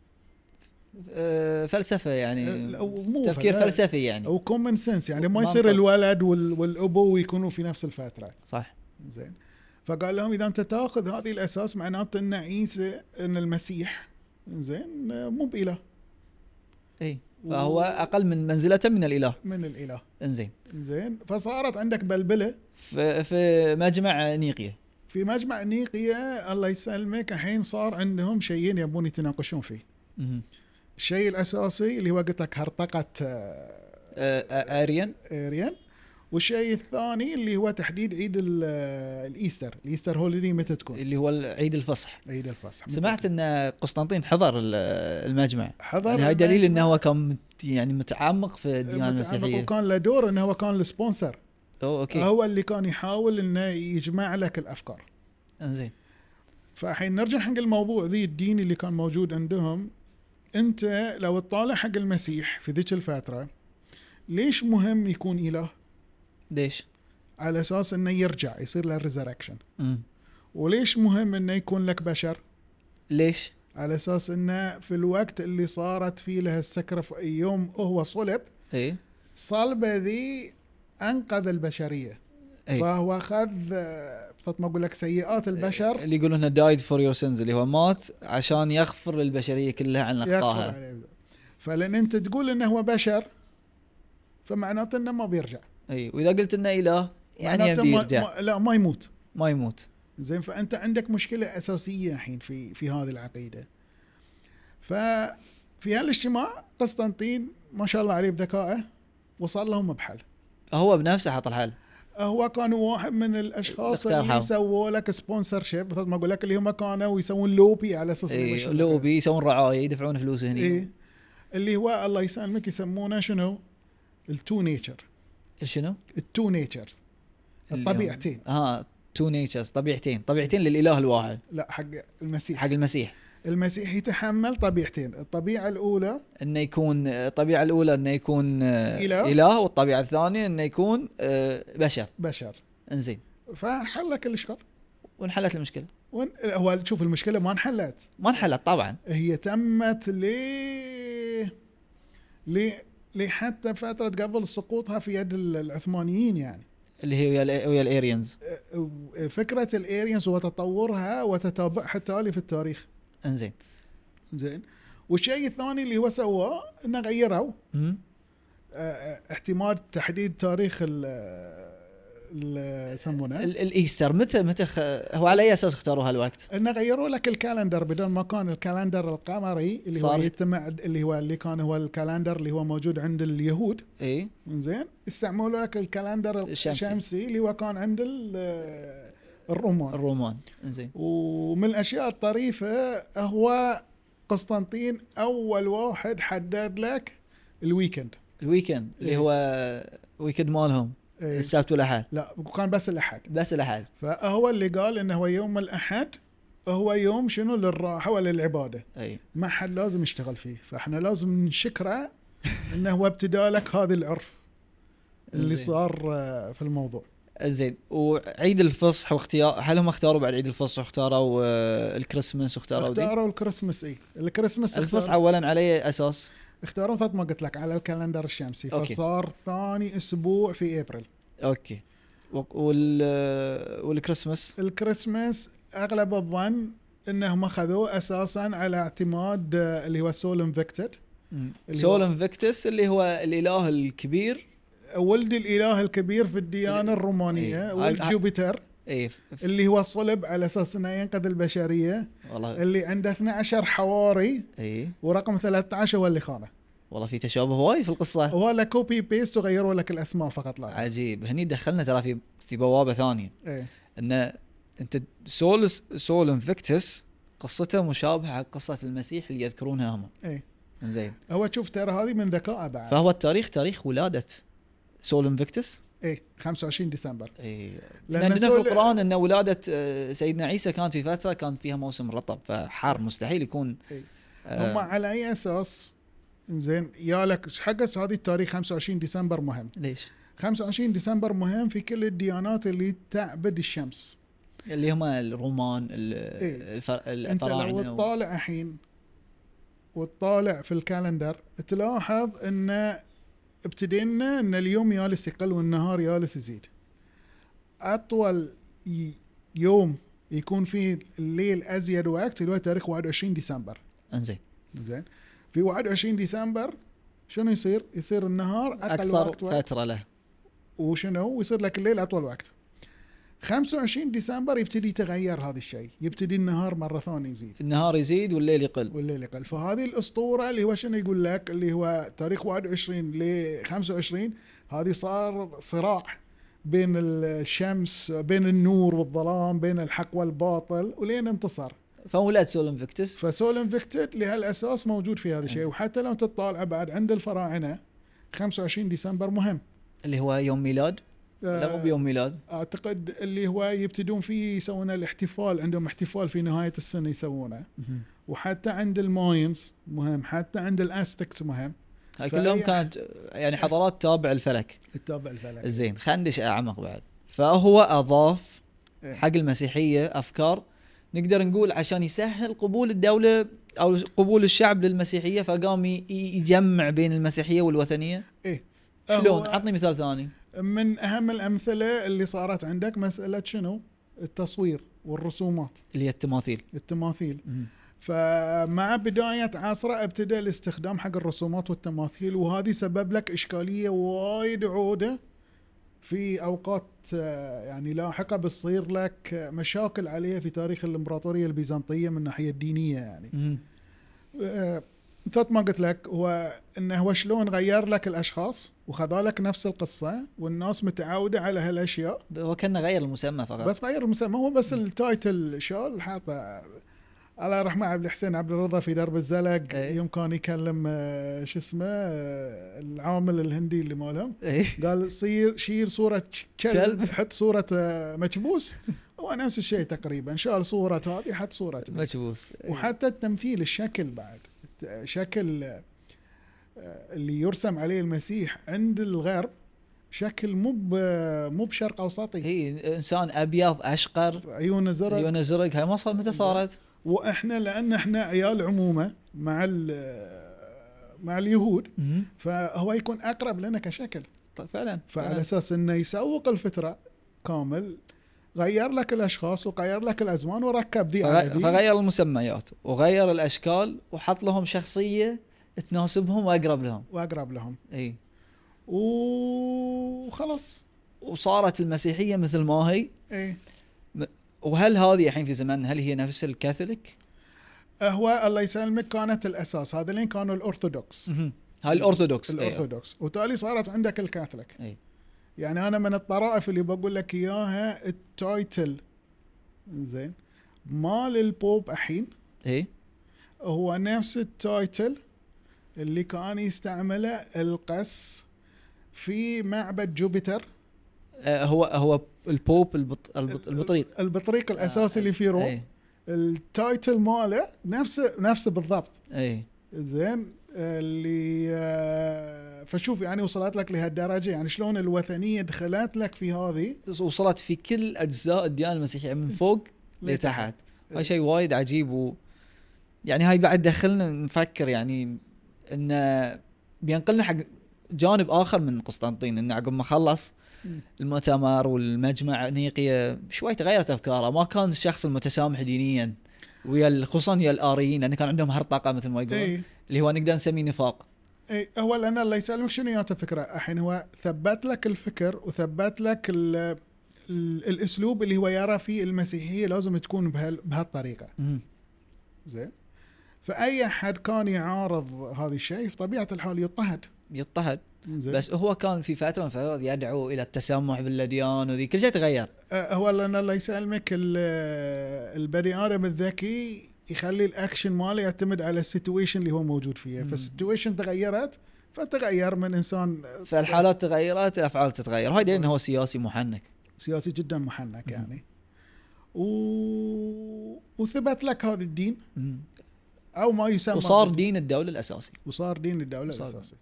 Speaker 1: آه، فلسفه يعني
Speaker 2: لا، مو
Speaker 1: تفكير
Speaker 2: فلا-
Speaker 1: فلسفي يعني
Speaker 2: او كومن سنس يعني ما
Speaker 1: منطق.
Speaker 2: يصير الولد وال- والابو يكونوا في نفس الفتره
Speaker 1: صح
Speaker 2: زين فقال لهم اذا انت تاخذ هذه الاساس معناته ان عيسى ان المسيح زين مو باله
Speaker 1: اي فهو اقل من منزلته من الاله
Speaker 2: من الاله
Speaker 1: انزين
Speaker 2: زين فصارت عندك بلبله
Speaker 1: في, في مجمع نيقيا
Speaker 2: في مجمع نيقيا الله يسلمك الحين صار عندهم شيئين يبون يتناقشون فيه
Speaker 1: مهم.
Speaker 2: الشيء الاساسي اللي هو قلت لك هرطقه آه،
Speaker 1: آه، آه، اريان
Speaker 2: اريان والشيء الثاني اللي هو تحديد عيد ال- آه، الايستر الايستر هوليدي متى تكون
Speaker 1: اللي هو عيد الفصح
Speaker 2: عيد الفصح متى
Speaker 1: سمعت
Speaker 2: تكون؟
Speaker 1: ان قسطنطين حضر ال- المجمع
Speaker 2: حضر
Speaker 1: يعني هاي دليل
Speaker 2: المجمع.
Speaker 1: انه هو كان مت- يعني متعمق في الديانه
Speaker 2: متعمق
Speaker 1: المسيحيه
Speaker 2: وكان له دور انه هو كان السبونسر
Speaker 1: أو اوكي
Speaker 2: هو اللي كان يحاول انه يجمع لك الافكار
Speaker 1: انزين
Speaker 2: فحين نرجع حق الموضوع ذي الدين اللي كان موجود عندهم انت لو تطالع حق المسيح في ذيك الفتره ليش مهم يكون اله
Speaker 1: ليش؟
Speaker 2: على اساس انه يرجع يصير له ريزركشن
Speaker 1: مم.
Speaker 2: وليش مهم انه يكون لك بشر
Speaker 1: ليش؟
Speaker 2: على اساس انه في الوقت اللي صارت فيه لها السكره في يوم هو صلب
Speaker 1: اي
Speaker 2: صلبه ذي انقذ البشريه
Speaker 1: اي
Speaker 2: فهو اخذ آه، بطلت ما اقول لك سيئات البشر
Speaker 1: اللي يقولون دايد فور يور سينز اللي هو مات عشان يغفر للبشريه كلها عن
Speaker 2: يقفل
Speaker 1: اخطائها
Speaker 2: عليه. فلان انت تقول انه هو بشر فمعناته انه ما بيرجع
Speaker 1: اي واذا قلت انه اله يعني
Speaker 2: معناته
Speaker 1: يبي
Speaker 2: ما-
Speaker 1: يرجع
Speaker 2: ما- لا ما يموت
Speaker 1: ما يموت
Speaker 2: زين فانت عندك مشكله اساسيه الحين في في هذه العقيده ففي هالاجتماع قسطنطين ما شاء الله عليه بذكائه وصل لهم بحل
Speaker 1: هو بنفسه حط الحل
Speaker 2: هو كان واحد من الاشخاص
Speaker 1: اقترحوا.
Speaker 2: اللي سووا لك سبونسر شيب مثل ما اقول لك اللي هم كانوا يسوون لوبي على اساس إنه
Speaker 1: اي
Speaker 2: يبشر
Speaker 1: لو
Speaker 2: لك.
Speaker 1: بي يسوون رعايه يدفعون فلوس هني
Speaker 2: إيه. اللي هو الله يسلمك يسمونه شنو؟ التو نيتشر
Speaker 1: شنو؟
Speaker 2: التو نيتشر الطبيعتين
Speaker 1: ها تو نيتشرز طبيعتين طبيعتين للاله الواحد
Speaker 2: لا حق المسيح
Speaker 1: حق المسيح
Speaker 2: المسيح يتحمل طبيعتين الطبيعه الاولى
Speaker 1: انه يكون آه، الطبيعه الاولى انه يكون آه،
Speaker 2: إله.
Speaker 1: اله والطبيعه الثانيه انه يكون آه، بشر
Speaker 2: بشر
Speaker 1: انزين
Speaker 2: فحل كل اشكال
Speaker 1: وانحلت المشكله
Speaker 2: وين هو شوف المشكله ما انحلت
Speaker 1: ما انحلت طبعا
Speaker 2: هي تمت ل ل لحتى فتره قبل سقوطها في يد ال- العثمانيين يعني
Speaker 1: اللي هي ويا الإي- ويا الاريانز
Speaker 2: أه، فكره الارينز وتطورها وتتابعها التالي في التاريخ
Speaker 1: انزين
Speaker 2: زين والشيء الثاني اللي هو سواه انه غيروا
Speaker 1: مم.
Speaker 2: أه، احتمال تحديد تاريخ ال ال- آه، يسمونه
Speaker 1: ال- الايستر متى متى خ... هو على اي اساس اختاروا هالوقت؟
Speaker 2: انه غيروا لك الكالندر بدل ما كان الكالندر القمري اللي هو
Speaker 1: صار-
Speaker 2: يتمع اللي هو اللي كان هو الكالندر اللي هو موجود عند اليهود
Speaker 1: اي
Speaker 2: زين استعملوا لك الكالندر
Speaker 1: الشمسي.
Speaker 2: الشمسي, الشمسي اللي هو كان عند ال- آه، الرومان
Speaker 1: الرومان انزين
Speaker 2: ومن الاشياء الطريفه هو قسطنطين اول واحد حدد لك الويكند
Speaker 1: الويكند اللي
Speaker 2: إيه.
Speaker 1: هو ويكند مالهم
Speaker 2: إيه.
Speaker 1: السبت والاحد
Speaker 2: لا وكان بس الاحد
Speaker 1: بس الاحد
Speaker 2: فهو اللي قال انه هو يوم الاحد هو يوم شنو للراحه وللعباده
Speaker 1: اي
Speaker 2: ما حد لازم يشتغل فيه فاحنا لازم نشكره انه هو ابتدى لك هذا العرف اللي
Speaker 1: زين.
Speaker 2: صار آه، في الموضوع
Speaker 1: زين وعيد الفصح واختيار هل هم اختاروا بعد عيد الفصح واختاروا آه، الكريسماس واختاروا دي؟
Speaker 2: اختاروا الكريسماس اي الكريسماس
Speaker 1: الفصح
Speaker 2: اختار-
Speaker 1: اولا على اي اساس؟
Speaker 2: اختاروا مثل ما قلت لك على الكالندر الشمسي
Speaker 1: أوكي.
Speaker 2: فصار ثاني اسبوع في ابريل
Speaker 1: اوكي وك- وال آه،
Speaker 2: إيه.
Speaker 1: والكريسماس
Speaker 2: الكريسماس اغلب الظن انهم اخذوه اساسا على اعتماد آه، اللي هو سول انفكتد اللي هو-
Speaker 1: سول انفكتس اللي هو الاله الكبير
Speaker 2: ولد الاله الكبير في الديانه الرومانيه
Speaker 1: إيه.
Speaker 2: ولد
Speaker 1: هاي-
Speaker 2: جوبيتر
Speaker 1: اي إيه، ف- ف-
Speaker 2: اللي هو صلب على اساس انه ينقذ البشريه
Speaker 1: والله
Speaker 2: اللي عنده 12 حواري
Speaker 1: اي
Speaker 2: ورقم 13 هو اللي خانه
Speaker 1: والله في تشابه وايد في القصه
Speaker 2: هو له كوبي بيست وغيروا لك الاسماء فقط لا
Speaker 1: عجيب هني دخلنا ترى في في بوابه ثانيه
Speaker 2: ايه
Speaker 1: ان انت سول سول انفكتس قصته مشابهه حق قصه المسيح اللي يذكرونها هم
Speaker 2: ايه
Speaker 1: زين
Speaker 2: هو شوف ترى هذه من ذكائه بعد
Speaker 1: فهو التاريخ تاريخ ولاده سول انفكتس
Speaker 2: ايه 25 ديسمبر
Speaker 1: اي لان
Speaker 2: إيه. لأن
Speaker 1: عندنا في
Speaker 2: سول-
Speaker 1: القران ان ولاده آه، سيدنا عيسى كانت في فتره كان فيها موسم رطب فحار مستحيل يكون
Speaker 2: إي.
Speaker 1: آه،
Speaker 2: إيه. هم على اي اساس زين يا لك حقس هذه التاريخ 25 ديسمبر مهم
Speaker 1: ليش؟
Speaker 2: 25 ديسمبر مهم في كل الديانات اللي تعبد الشمس
Speaker 1: اللي هم الرومان ال-
Speaker 2: إي.
Speaker 1: الفر-
Speaker 2: انت لو
Speaker 1: الفراعنه و-
Speaker 2: تطالع الحين وتطالع في الكالندر تلاحظ ان ابتدينا ان اليوم يالس يقل والنهار يالس يزيد اطول ي- يوم يكون فيه الليل ازيد وقت اللي هو تاريخ 21 ديسمبر
Speaker 1: انزين
Speaker 2: زين في 21 ديسمبر شنو يصير؟ يصير النهار اقل
Speaker 1: اقصر
Speaker 2: وقت, وقت
Speaker 1: فتره له
Speaker 2: وشنو؟ ويصير لك الليل اطول وقت 25 ديسمبر يبتدي يتغير هذا الشيء يبتدي النهار مره ثانيه يزيد
Speaker 1: النهار يزيد والليل يقل
Speaker 2: والليل يقل فهذه الاسطوره اللي هو شنو يقول لك اللي هو تاريخ 21 ل 25 هذه صار صراع بين الشمس بين النور والظلام بين الحق والباطل ولين انتصر
Speaker 1: فولاد سول انفكتس
Speaker 2: فسول انفكتد لهالاساس موجود في هذا الشيء
Speaker 1: أيوة.
Speaker 2: وحتى لو تطالع بعد عند الفراعنه 25 ديسمبر مهم
Speaker 1: اللي هو يوم ميلاد لا مو
Speaker 2: آه،
Speaker 1: بيوم ميلاد
Speaker 2: اعتقد اللي هو يبتدون فيه يسوون الاحتفال عندهم احتفال في نهايه السنه يسوونه وحتى عند الماينز مهم حتى عند الاستكس مهم
Speaker 1: هاي كلهم
Speaker 2: فهي-
Speaker 1: كانت يعني حضارات تابع الفلك
Speaker 2: تتابع الفلك
Speaker 1: زين خندش اعمق بعد فهو اضاف
Speaker 2: إيه.
Speaker 1: حق المسيحيه افكار نقدر نقول عشان يسهل قبول الدوله او قبول الشعب للمسيحيه فقام ي- يجمع بين المسيحيه والوثنيه
Speaker 2: ايه
Speaker 1: شلون
Speaker 2: هو
Speaker 1: عطني مثال ثاني
Speaker 2: من اهم الامثله اللي صارت عندك مساله شنو؟ التصوير والرسومات
Speaker 1: اللي هي التماثيل
Speaker 2: التماثيل فمع بداية عصره ابتدى الاستخدام حق الرسومات والتماثيل وهذه سبب لك إشكالية وايد عودة في أوقات آه، يعني لاحقة بتصير لك آه، مشاكل عليها في تاريخ الإمبراطورية البيزنطية من الناحية الدينية يعني
Speaker 1: مم.
Speaker 2: آه، مثل ما قلت لك هو انه هو شلون غير لك الاشخاص وخذا لك نفس القصه والناس متعوده على هالاشياء
Speaker 1: هو كنا غير المسمى فقط
Speaker 2: بس غير المسمى هو بس التايتل شال حاطه الله يرحمه عبد الحسين عبد الرضا في درب الزلق
Speaker 1: إيه.
Speaker 2: يوم كان يكلم آه، شو اسمه آه، العامل الهندي اللي مالهم
Speaker 1: إيه.
Speaker 2: قال صير شير صورة كلب
Speaker 1: كلب.
Speaker 2: حط صورة آه، مكبوس هو نفس الشيء تقريبا شال صورة هذه حط
Speaker 1: إيه.
Speaker 2: صورة ذي.
Speaker 1: مكبوس
Speaker 2: وحتى التمثيل الشكل بعد الت- شكل آه، اللي يرسم عليه المسيح عند الغرب شكل مو ب- مو بشرق اوسطي
Speaker 1: هي انسان ابيض اشقر
Speaker 2: عيونه زرق
Speaker 1: عيونه زرق هاي ما صار متى صارت؟
Speaker 2: واحنا لان احنا عيال عمومه مع ال- مع اليهود
Speaker 1: مم.
Speaker 2: فهو يكون اقرب لنا كشكل
Speaker 1: طيب فعلا
Speaker 2: فعلى
Speaker 1: فعلا
Speaker 2: اساس انه يسوق الفتره كامل غير لك الاشخاص وغير لك الازمان وركب ذي على
Speaker 1: فغ-
Speaker 2: ذي.
Speaker 1: فغير المسميات وغير الاشكال وحط لهم شخصيه تناسبهم واقرب لهم
Speaker 2: واقرب لهم
Speaker 1: اي
Speaker 2: وخلاص
Speaker 1: وصارت المسيحيه مثل ما هي
Speaker 2: ايه
Speaker 1: وهل هذه الحين في زماننا هل هي نفس الكاثوليك؟
Speaker 2: هو الله يسلمك كانت الاساس هذا لين كانوا الارثوذكس
Speaker 1: مهم. هاي الارثوذكس أيوة.
Speaker 2: الارثوذكس وتالي صارت عندك الكاثوليك
Speaker 1: أي.
Speaker 2: يعني انا من الطرائف اللي بقول لك اياها التايتل زين مال البوب الحين
Speaker 1: اي
Speaker 2: هو نفس التايتل اللي كان يستعمله القس في معبد جوبيتر
Speaker 1: آه هو هو البوب البط... البط... البطريق
Speaker 2: البطريق الاساسي
Speaker 1: آه،
Speaker 2: اللي في روم
Speaker 1: اي
Speaker 2: التايتل ماله نفسه نفسه بالضبط
Speaker 1: اي
Speaker 2: زين اللي آه، فشوف يعني وصلت لك لهالدرجه يعني شلون الوثنيه دخلت لك في هذه
Speaker 1: وصلت في كل اجزاء الديانه المسيحيه من فوق لتحت هاي شيء وايد عجيب و يعني هاي بعد دخلنا نفكر يعني انه بينقلنا حق جانب اخر من قسطنطين انه عقب ما خلص
Speaker 2: مم.
Speaker 1: المؤتمر والمجمع نيقيا شوي تغيرت افكاره ما كان الشخص المتسامح دينيا ويا ال- خصوصا يا الاريين لان كان عندهم هرطقه مثل ما يقولون
Speaker 2: اي
Speaker 1: اللي هو نقدر نسميه نفاق
Speaker 2: اي إيه، هو لان الله يسلمك شنو جات الفكره الحين هو ثبت لك الفكر وثبت لك ال ال الاسلوب اللي هو يرى فيه المسيحيه لازم تكون بهال- بهالطريقه
Speaker 1: مم.
Speaker 2: زين فاي احد كان يعارض هذا الشيء في طبيعه الحال يضطهد
Speaker 1: يضطهد
Speaker 2: زين
Speaker 1: بس هو كان في فتره من الفترات يدعو الى التسامح بالاديان وذي كل شيء تغير
Speaker 2: آه، هو لان الله يسلمك ال- البني ادم الذكي يخلي الاكشن ماله يعتمد على السيتويشن اللي هو موجود فيها
Speaker 1: مم.
Speaker 2: فالسيتويشن تغيرت فتغير من انسان
Speaker 1: فالحالات تغيرت الافعال تتغير هاي دليل انه هو سياسي محنك
Speaker 2: سياسي جدا محنك
Speaker 1: مم.
Speaker 2: يعني و... وثبت لك هذا الدين
Speaker 1: مم.
Speaker 2: او ما يسمى
Speaker 1: وصار
Speaker 2: بالدين.
Speaker 1: دين الدوله الاساسي
Speaker 2: وصار دين الدوله
Speaker 1: وصار-
Speaker 2: الاساسي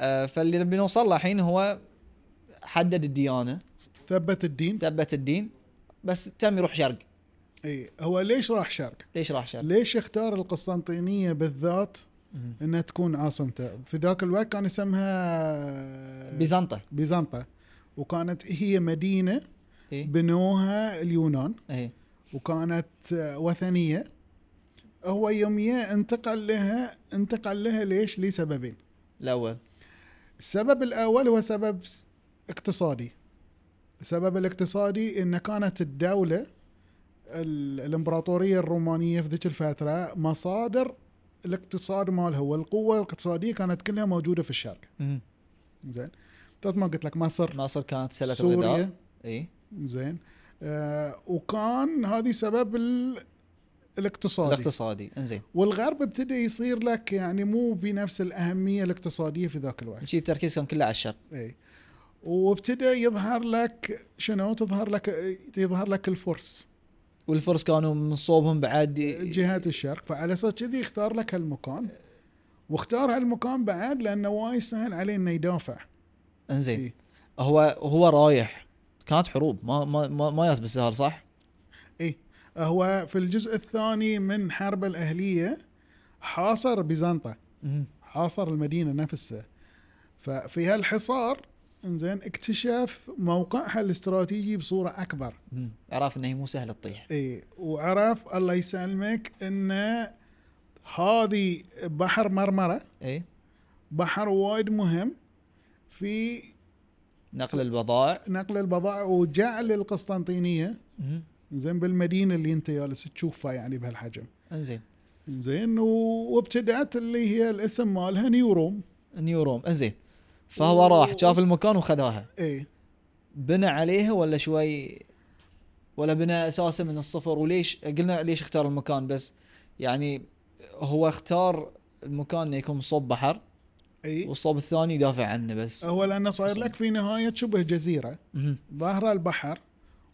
Speaker 1: آه، فاللي بنوصل له الحين هو حدد الديانه
Speaker 2: ثبت الدين
Speaker 1: ثبت الدين بس تم يروح شرق
Speaker 2: اي إيه، هو ليش راح شرق؟
Speaker 1: ليش راح شرق؟
Speaker 2: ليش اختار القسطنطينيه بالذات
Speaker 1: مم.
Speaker 2: انها تكون عاصمته؟ في ذاك الوقت كان يسمها
Speaker 1: بيزنطه
Speaker 2: بيزنطة وكانت هي مدينة
Speaker 1: اي
Speaker 2: بنوها اليونان
Speaker 1: اي
Speaker 2: وكانت آه، وثنية هو يوميا انتقل لها انتقل لها ليش لسببين
Speaker 1: الاول
Speaker 2: السبب الأول هو سبب س- اقتصادي السبب الاقتصادي إن كانت الدولة ال- الإمبراطورية الرومانية في ذيك الفترة مصادر الاقتصاد مالها والقوة الاقتصادية كانت كلها موجودة في الشرق
Speaker 1: مم.
Speaker 2: زين مثل ما قلت لك مصر
Speaker 1: مصر كانت سله
Speaker 2: سوريا
Speaker 1: الغذاء إيه؟ اي
Speaker 2: زين آه وكان هذه سبب ال... الاقتصادي
Speaker 1: الاقتصادي انزين
Speaker 2: والغرب ابتدى يصير لك يعني مو بنفس الاهميه الاقتصاديه في ذاك الوقت
Speaker 1: شي التركيز كان كله على الشرق
Speaker 2: اي وابتدى يظهر لك شنو تظهر لك يظهر لك الفرس
Speaker 1: والفرس كانوا من صوبهم بعد ي-
Speaker 2: جهات الشرق فعلى اساس كذي اختار لك هالمكان واختار هالمكان بعد لانه وايد سهل عليه انه يدافع
Speaker 1: انزين
Speaker 2: إيه.
Speaker 1: هو هو رايح كانت حروب ما ما ما, ما جات بالسهل صح؟
Speaker 2: اي إيه. هو في الجزء الثاني من حرب الأهلية حاصر بيزنطة حاصر المدينة نفسها ففي هالحصار انزين اكتشف موقعها الاستراتيجي بصورة أكبر
Speaker 1: عرف انها هي مو سهله تطيح
Speaker 2: اي وعرف الله يسلمك ان هذه بحر مرمرة
Speaker 1: اي
Speaker 2: بحر وايد مهم في
Speaker 1: نقل البضائع
Speaker 2: نقل البضائع وجعل القسطنطينية زين بالمدينة اللي انت جالس تشوفها يعني بهالحجم
Speaker 1: انزين
Speaker 2: زين و- وابتدأت اللي هي الاسم مالها نيوروم
Speaker 1: نيوروم انزين فهو راح شاف المكان وخذاها
Speaker 2: اي
Speaker 1: بنى عليها ولا شوي ولا بنى اساسه من الصفر وليش قلنا ليش اختار المكان بس يعني هو اختار المكان انه يكون صوب بحر
Speaker 2: اي
Speaker 1: والصوب الثاني يدافع عنه بس
Speaker 2: هو لانه صاير لك في نهاية شبه جزيرة
Speaker 1: مهم.
Speaker 2: ظاهرة البحر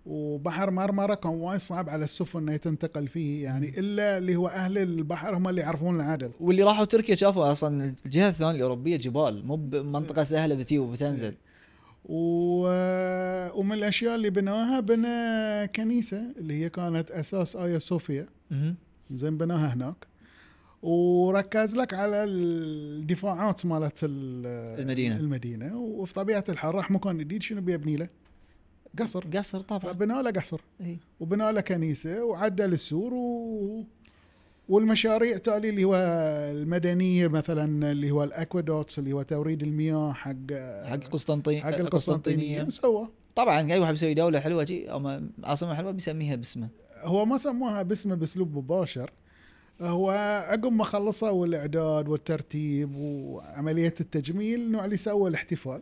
Speaker 2: وبحر مرمرة كان وايد صعب على السفن انها تنتقل فيه يعني الا اللي هو اهل البحر هم اللي يعرفون العدل
Speaker 1: واللي راحوا تركيا شافوا اصلا الجهه الثانيه الاوروبيه جبال مو بمنطقه سهله بتيجي وبتنزل
Speaker 2: و... ومن الاشياء اللي بناها بنى كنيسه اللي هي كانت اساس ايا صوفيا
Speaker 1: مهم.
Speaker 2: زين بناها هناك وركز لك على الدفاعات مالت ال-
Speaker 1: المدينة.
Speaker 2: المدينه وفي طبيعه الحال راح مكان جديد شنو بيبني له؟ قصر
Speaker 1: قصر إيه. طبعا
Speaker 2: فبنى له قصر
Speaker 1: إي.
Speaker 2: وبنى له كنيسه وعدل السور و... والمشاريع تالي اللي هو المدنيه مثلا اللي هو الاكوادوتس اللي هو توريد المياه حق
Speaker 1: حق القسطنطين
Speaker 2: حق القسطنطينيه سواه
Speaker 1: طبعا اي واحد بيسوي دوله حلوه جي او م- عاصمه حلوه بيسميها باسمه
Speaker 2: هو ما سموها باسمه باسلوب مباشر هو عقب ما خلصوا الاعداد والترتيب وعمليه التجميل نوع اللي سوى الاحتفال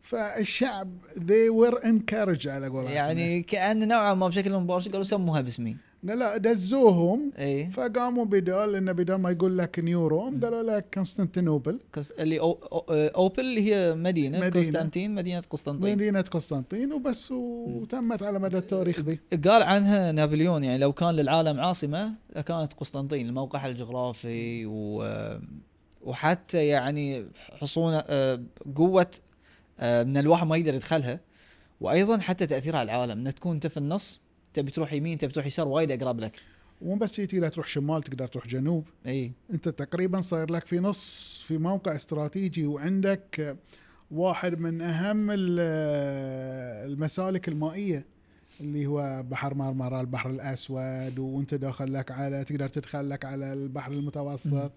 Speaker 2: فالشعب they were encouraged على قولتهم
Speaker 1: يعني كان نوعا ما بشكل مباشر قالوا سموها باسمي إيه،
Speaker 2: لا دزوهم
Speaker 1: اي
Speaker 2: فقاموا بدال انه بدال ما يقول لك نيوروم قالوا لك قسطنطينوبل
Speaker 1: كس- اللي أو أو اوبل اللي هي مدينه,
Speaker 2: مدينة.
Speaker 1: مدينة. قسطنطين مدينه قسطنطين
Speaker 2: مدينه قسطنطين وبس وتمت على مدى التاريخ ذي
Speaker 1: قال عنها نابليون يعني لو كان للعالم عاصمه لكانت قسطنطين موقعها الجغرافي و وحتى يعني حصون آه، قوه آه، من الواحد ما يقدر يدخلها وايضا حتى تاثيرها على العالم ان تكون انت في النص تبي تروح يمين تبي تروح يسار وايد اقرب لك إيه.
Speaker 2: مو بس جيتي لا تروح شمال تقدر تروح جنوب
Speaker 1: اي
Speaker 2: انت تقريبا صاير لك في نص في موقع استراتيجي وعندك واحد من اهم ال- المسالك المائيه اللي هو بحر مرمرة البحر الاسود وانت داخل لك على تقدر تدخل لك على البحر المتوسط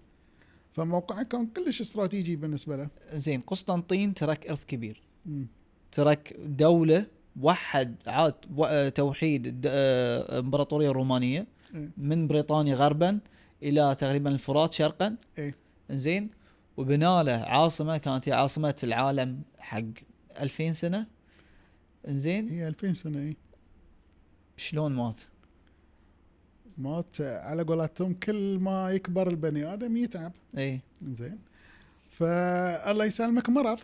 Speaker 2: فموقعك كان كلش استراتيجي بالنسبه له
Speaker 1: زين قسطنطين ترك ارث كبير
Speaker 2: مم.
Speaker 1: ترك دولة وحد عاد و- آه، توحيد الد- آه، الامبراطورية الرومانية
Speaker 2: إيه.
Speaker 1: من بريطانيا غربا الى تقريبا الفرات شرقا
Speaker 2: إيه.
Speaker 1: زين وبنى له عاصمة كانت هي عاصمة العالم حق 2000 سنة زين
Speaker 2: هي 2000 سنه ايه
Speaker 1: شلون مات
Speaker 2: مات على قولتهم كل ما يكبر البني ادم يتعب
Speaker 1: اي
Speaker 2: زين فالله يسلمك مرض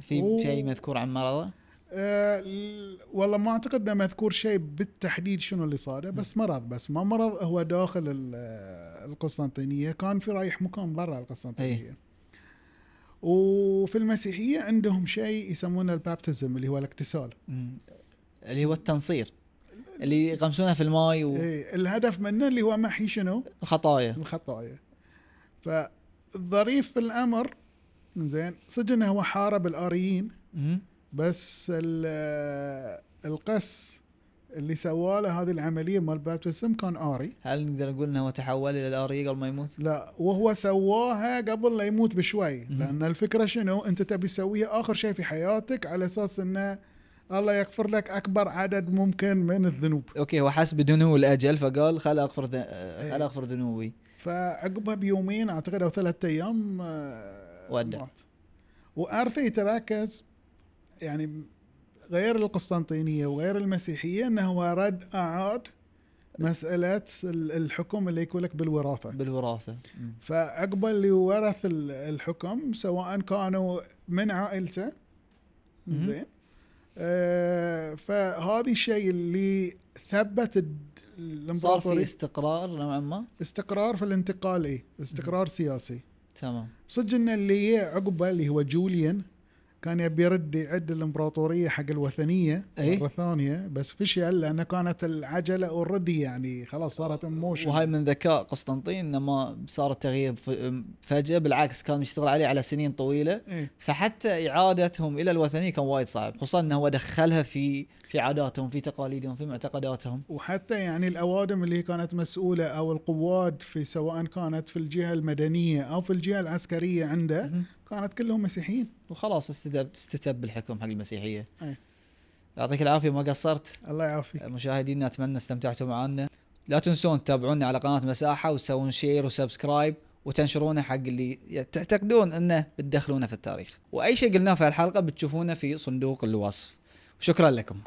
Speaker 1: في
Speaker 2: أوه.
Speaker 1: شيء مذكور عن مرضه
Speaker 2: آه، ال- والله ما اعتقد انه مذكور شيء بالتحديد شنو اللي صاده بس مرض بس ما مرض هو داخل ال- آه، القسطنطينيه كان في رايح مكان برا القسطنطينيه وفي المسيحيه عندهم شيء يسمونه البابتزم اللي هو الاغتسال
Speaker 1: مم. اللي هو التنصير اللي يغمسونه في الماي
Speaker 2: إيه الهدف منه اللي هو محي شنو
Speaker 1: والخطايا
Speaker 2: الخطايا فالظريف في الامر زين صدق انه هو حارب الاريين
Speaker 1: مم.
Speaker 2: بس ال- القس اللي سوى له هذه العمليه مال بابتسم كان اري
Speaker 1: هل نقدر نقول انه هو تحول الى الاري قبل ما يموت؟
Speaker 2: لا وهو سواها قبل لا يموت بشوي
Speaker 1: مم.
Speaker 2: لان الفكره شنو انت تبي تسويها اخر شيء في حياتك على اساس انه الله يغفر لك اكبر عدد ممكن من الذنوب
Speaker 1: اوكي هو حس بدنو الاجل فقال خل اغفر ذ... آه، خل
Speaker 2: إيه.
Speaker 1: اغفر ذنوبي
Speaker 2: فعقبها بيومين اعتقد او ثلاثة ايام آه،
Speaker 1: ودع.
Speaker 2: مات وارثي تركز يعني غير القسطنطينيه وغير المسيحيه انه هو رد اعاد مساله ال- الحكم اللي يكون لك بالوراثه
Speaker 1: بالوراثه مم.
Speaker 2: فعقب اللي ورث ال- الحكم سواء كانوا من عائلته
Speaker 1: مهم.
Speaker 2: زين آه فهذا الشيء اللي ثبت الد-
Speaker 1: صار في
Speaker 2: الامبراطوريه
Speaker 1: استقرار نوعا ما
Speaker 2: استقرار في الانتقال ايه استقرار سياسي
Speaker 1: تمام
Speaker 2: صدق ان اللي عقبه اللي هو جوليان كان يبي يرد يعد الامبراطوريه حق الوثنيه
Speaker 1: إيه.
Speaker 2: مره ثانيه بس فشل لانه كانت العجله اوريدي يعني خلاص صارت موشن
Speaker 1: وهاي من ذكاء قسطنطين انما صار التغيير ف- فجاه بالعكس كان يشتغل عليه على سنين طويله
Speaker 2: إيه.
Speaker 1: فحتى اعادتهم الى الوثنيه كان وايد صعب خصوصا انه هو دخلها في في عاداتهم في تقاليدهم في معتقداتهم
Speaker 2: وحتى يعني الاوادم اللي كانت مسؤوله او القواد في سواء كانت في الجهه المدنيه او في الجهه العسكريه عنده
Speaker 1: مهم.
Speaker 2: كانت كلهم مسيحيين
Speaker 1: وخلاص استتب استتب الحكم حق المسيحيه
Speaker 2: أي.
Speaker 1: يعطيك العافيه ما قصرت
Speaker 2: الله يعافيك
Speaker 1: مشاهدينا اتمنى استمتعتوا معنا لا تنسون تتابعونا على قناه مساحه وتسوون شير وسبسكرايب وتنشرونه حق اللي تعتقدون انه بتدخلونه في التاريخ واي شيء قلناه في الحلقه بتشوفونه في صندوق الوصف شكرا لكم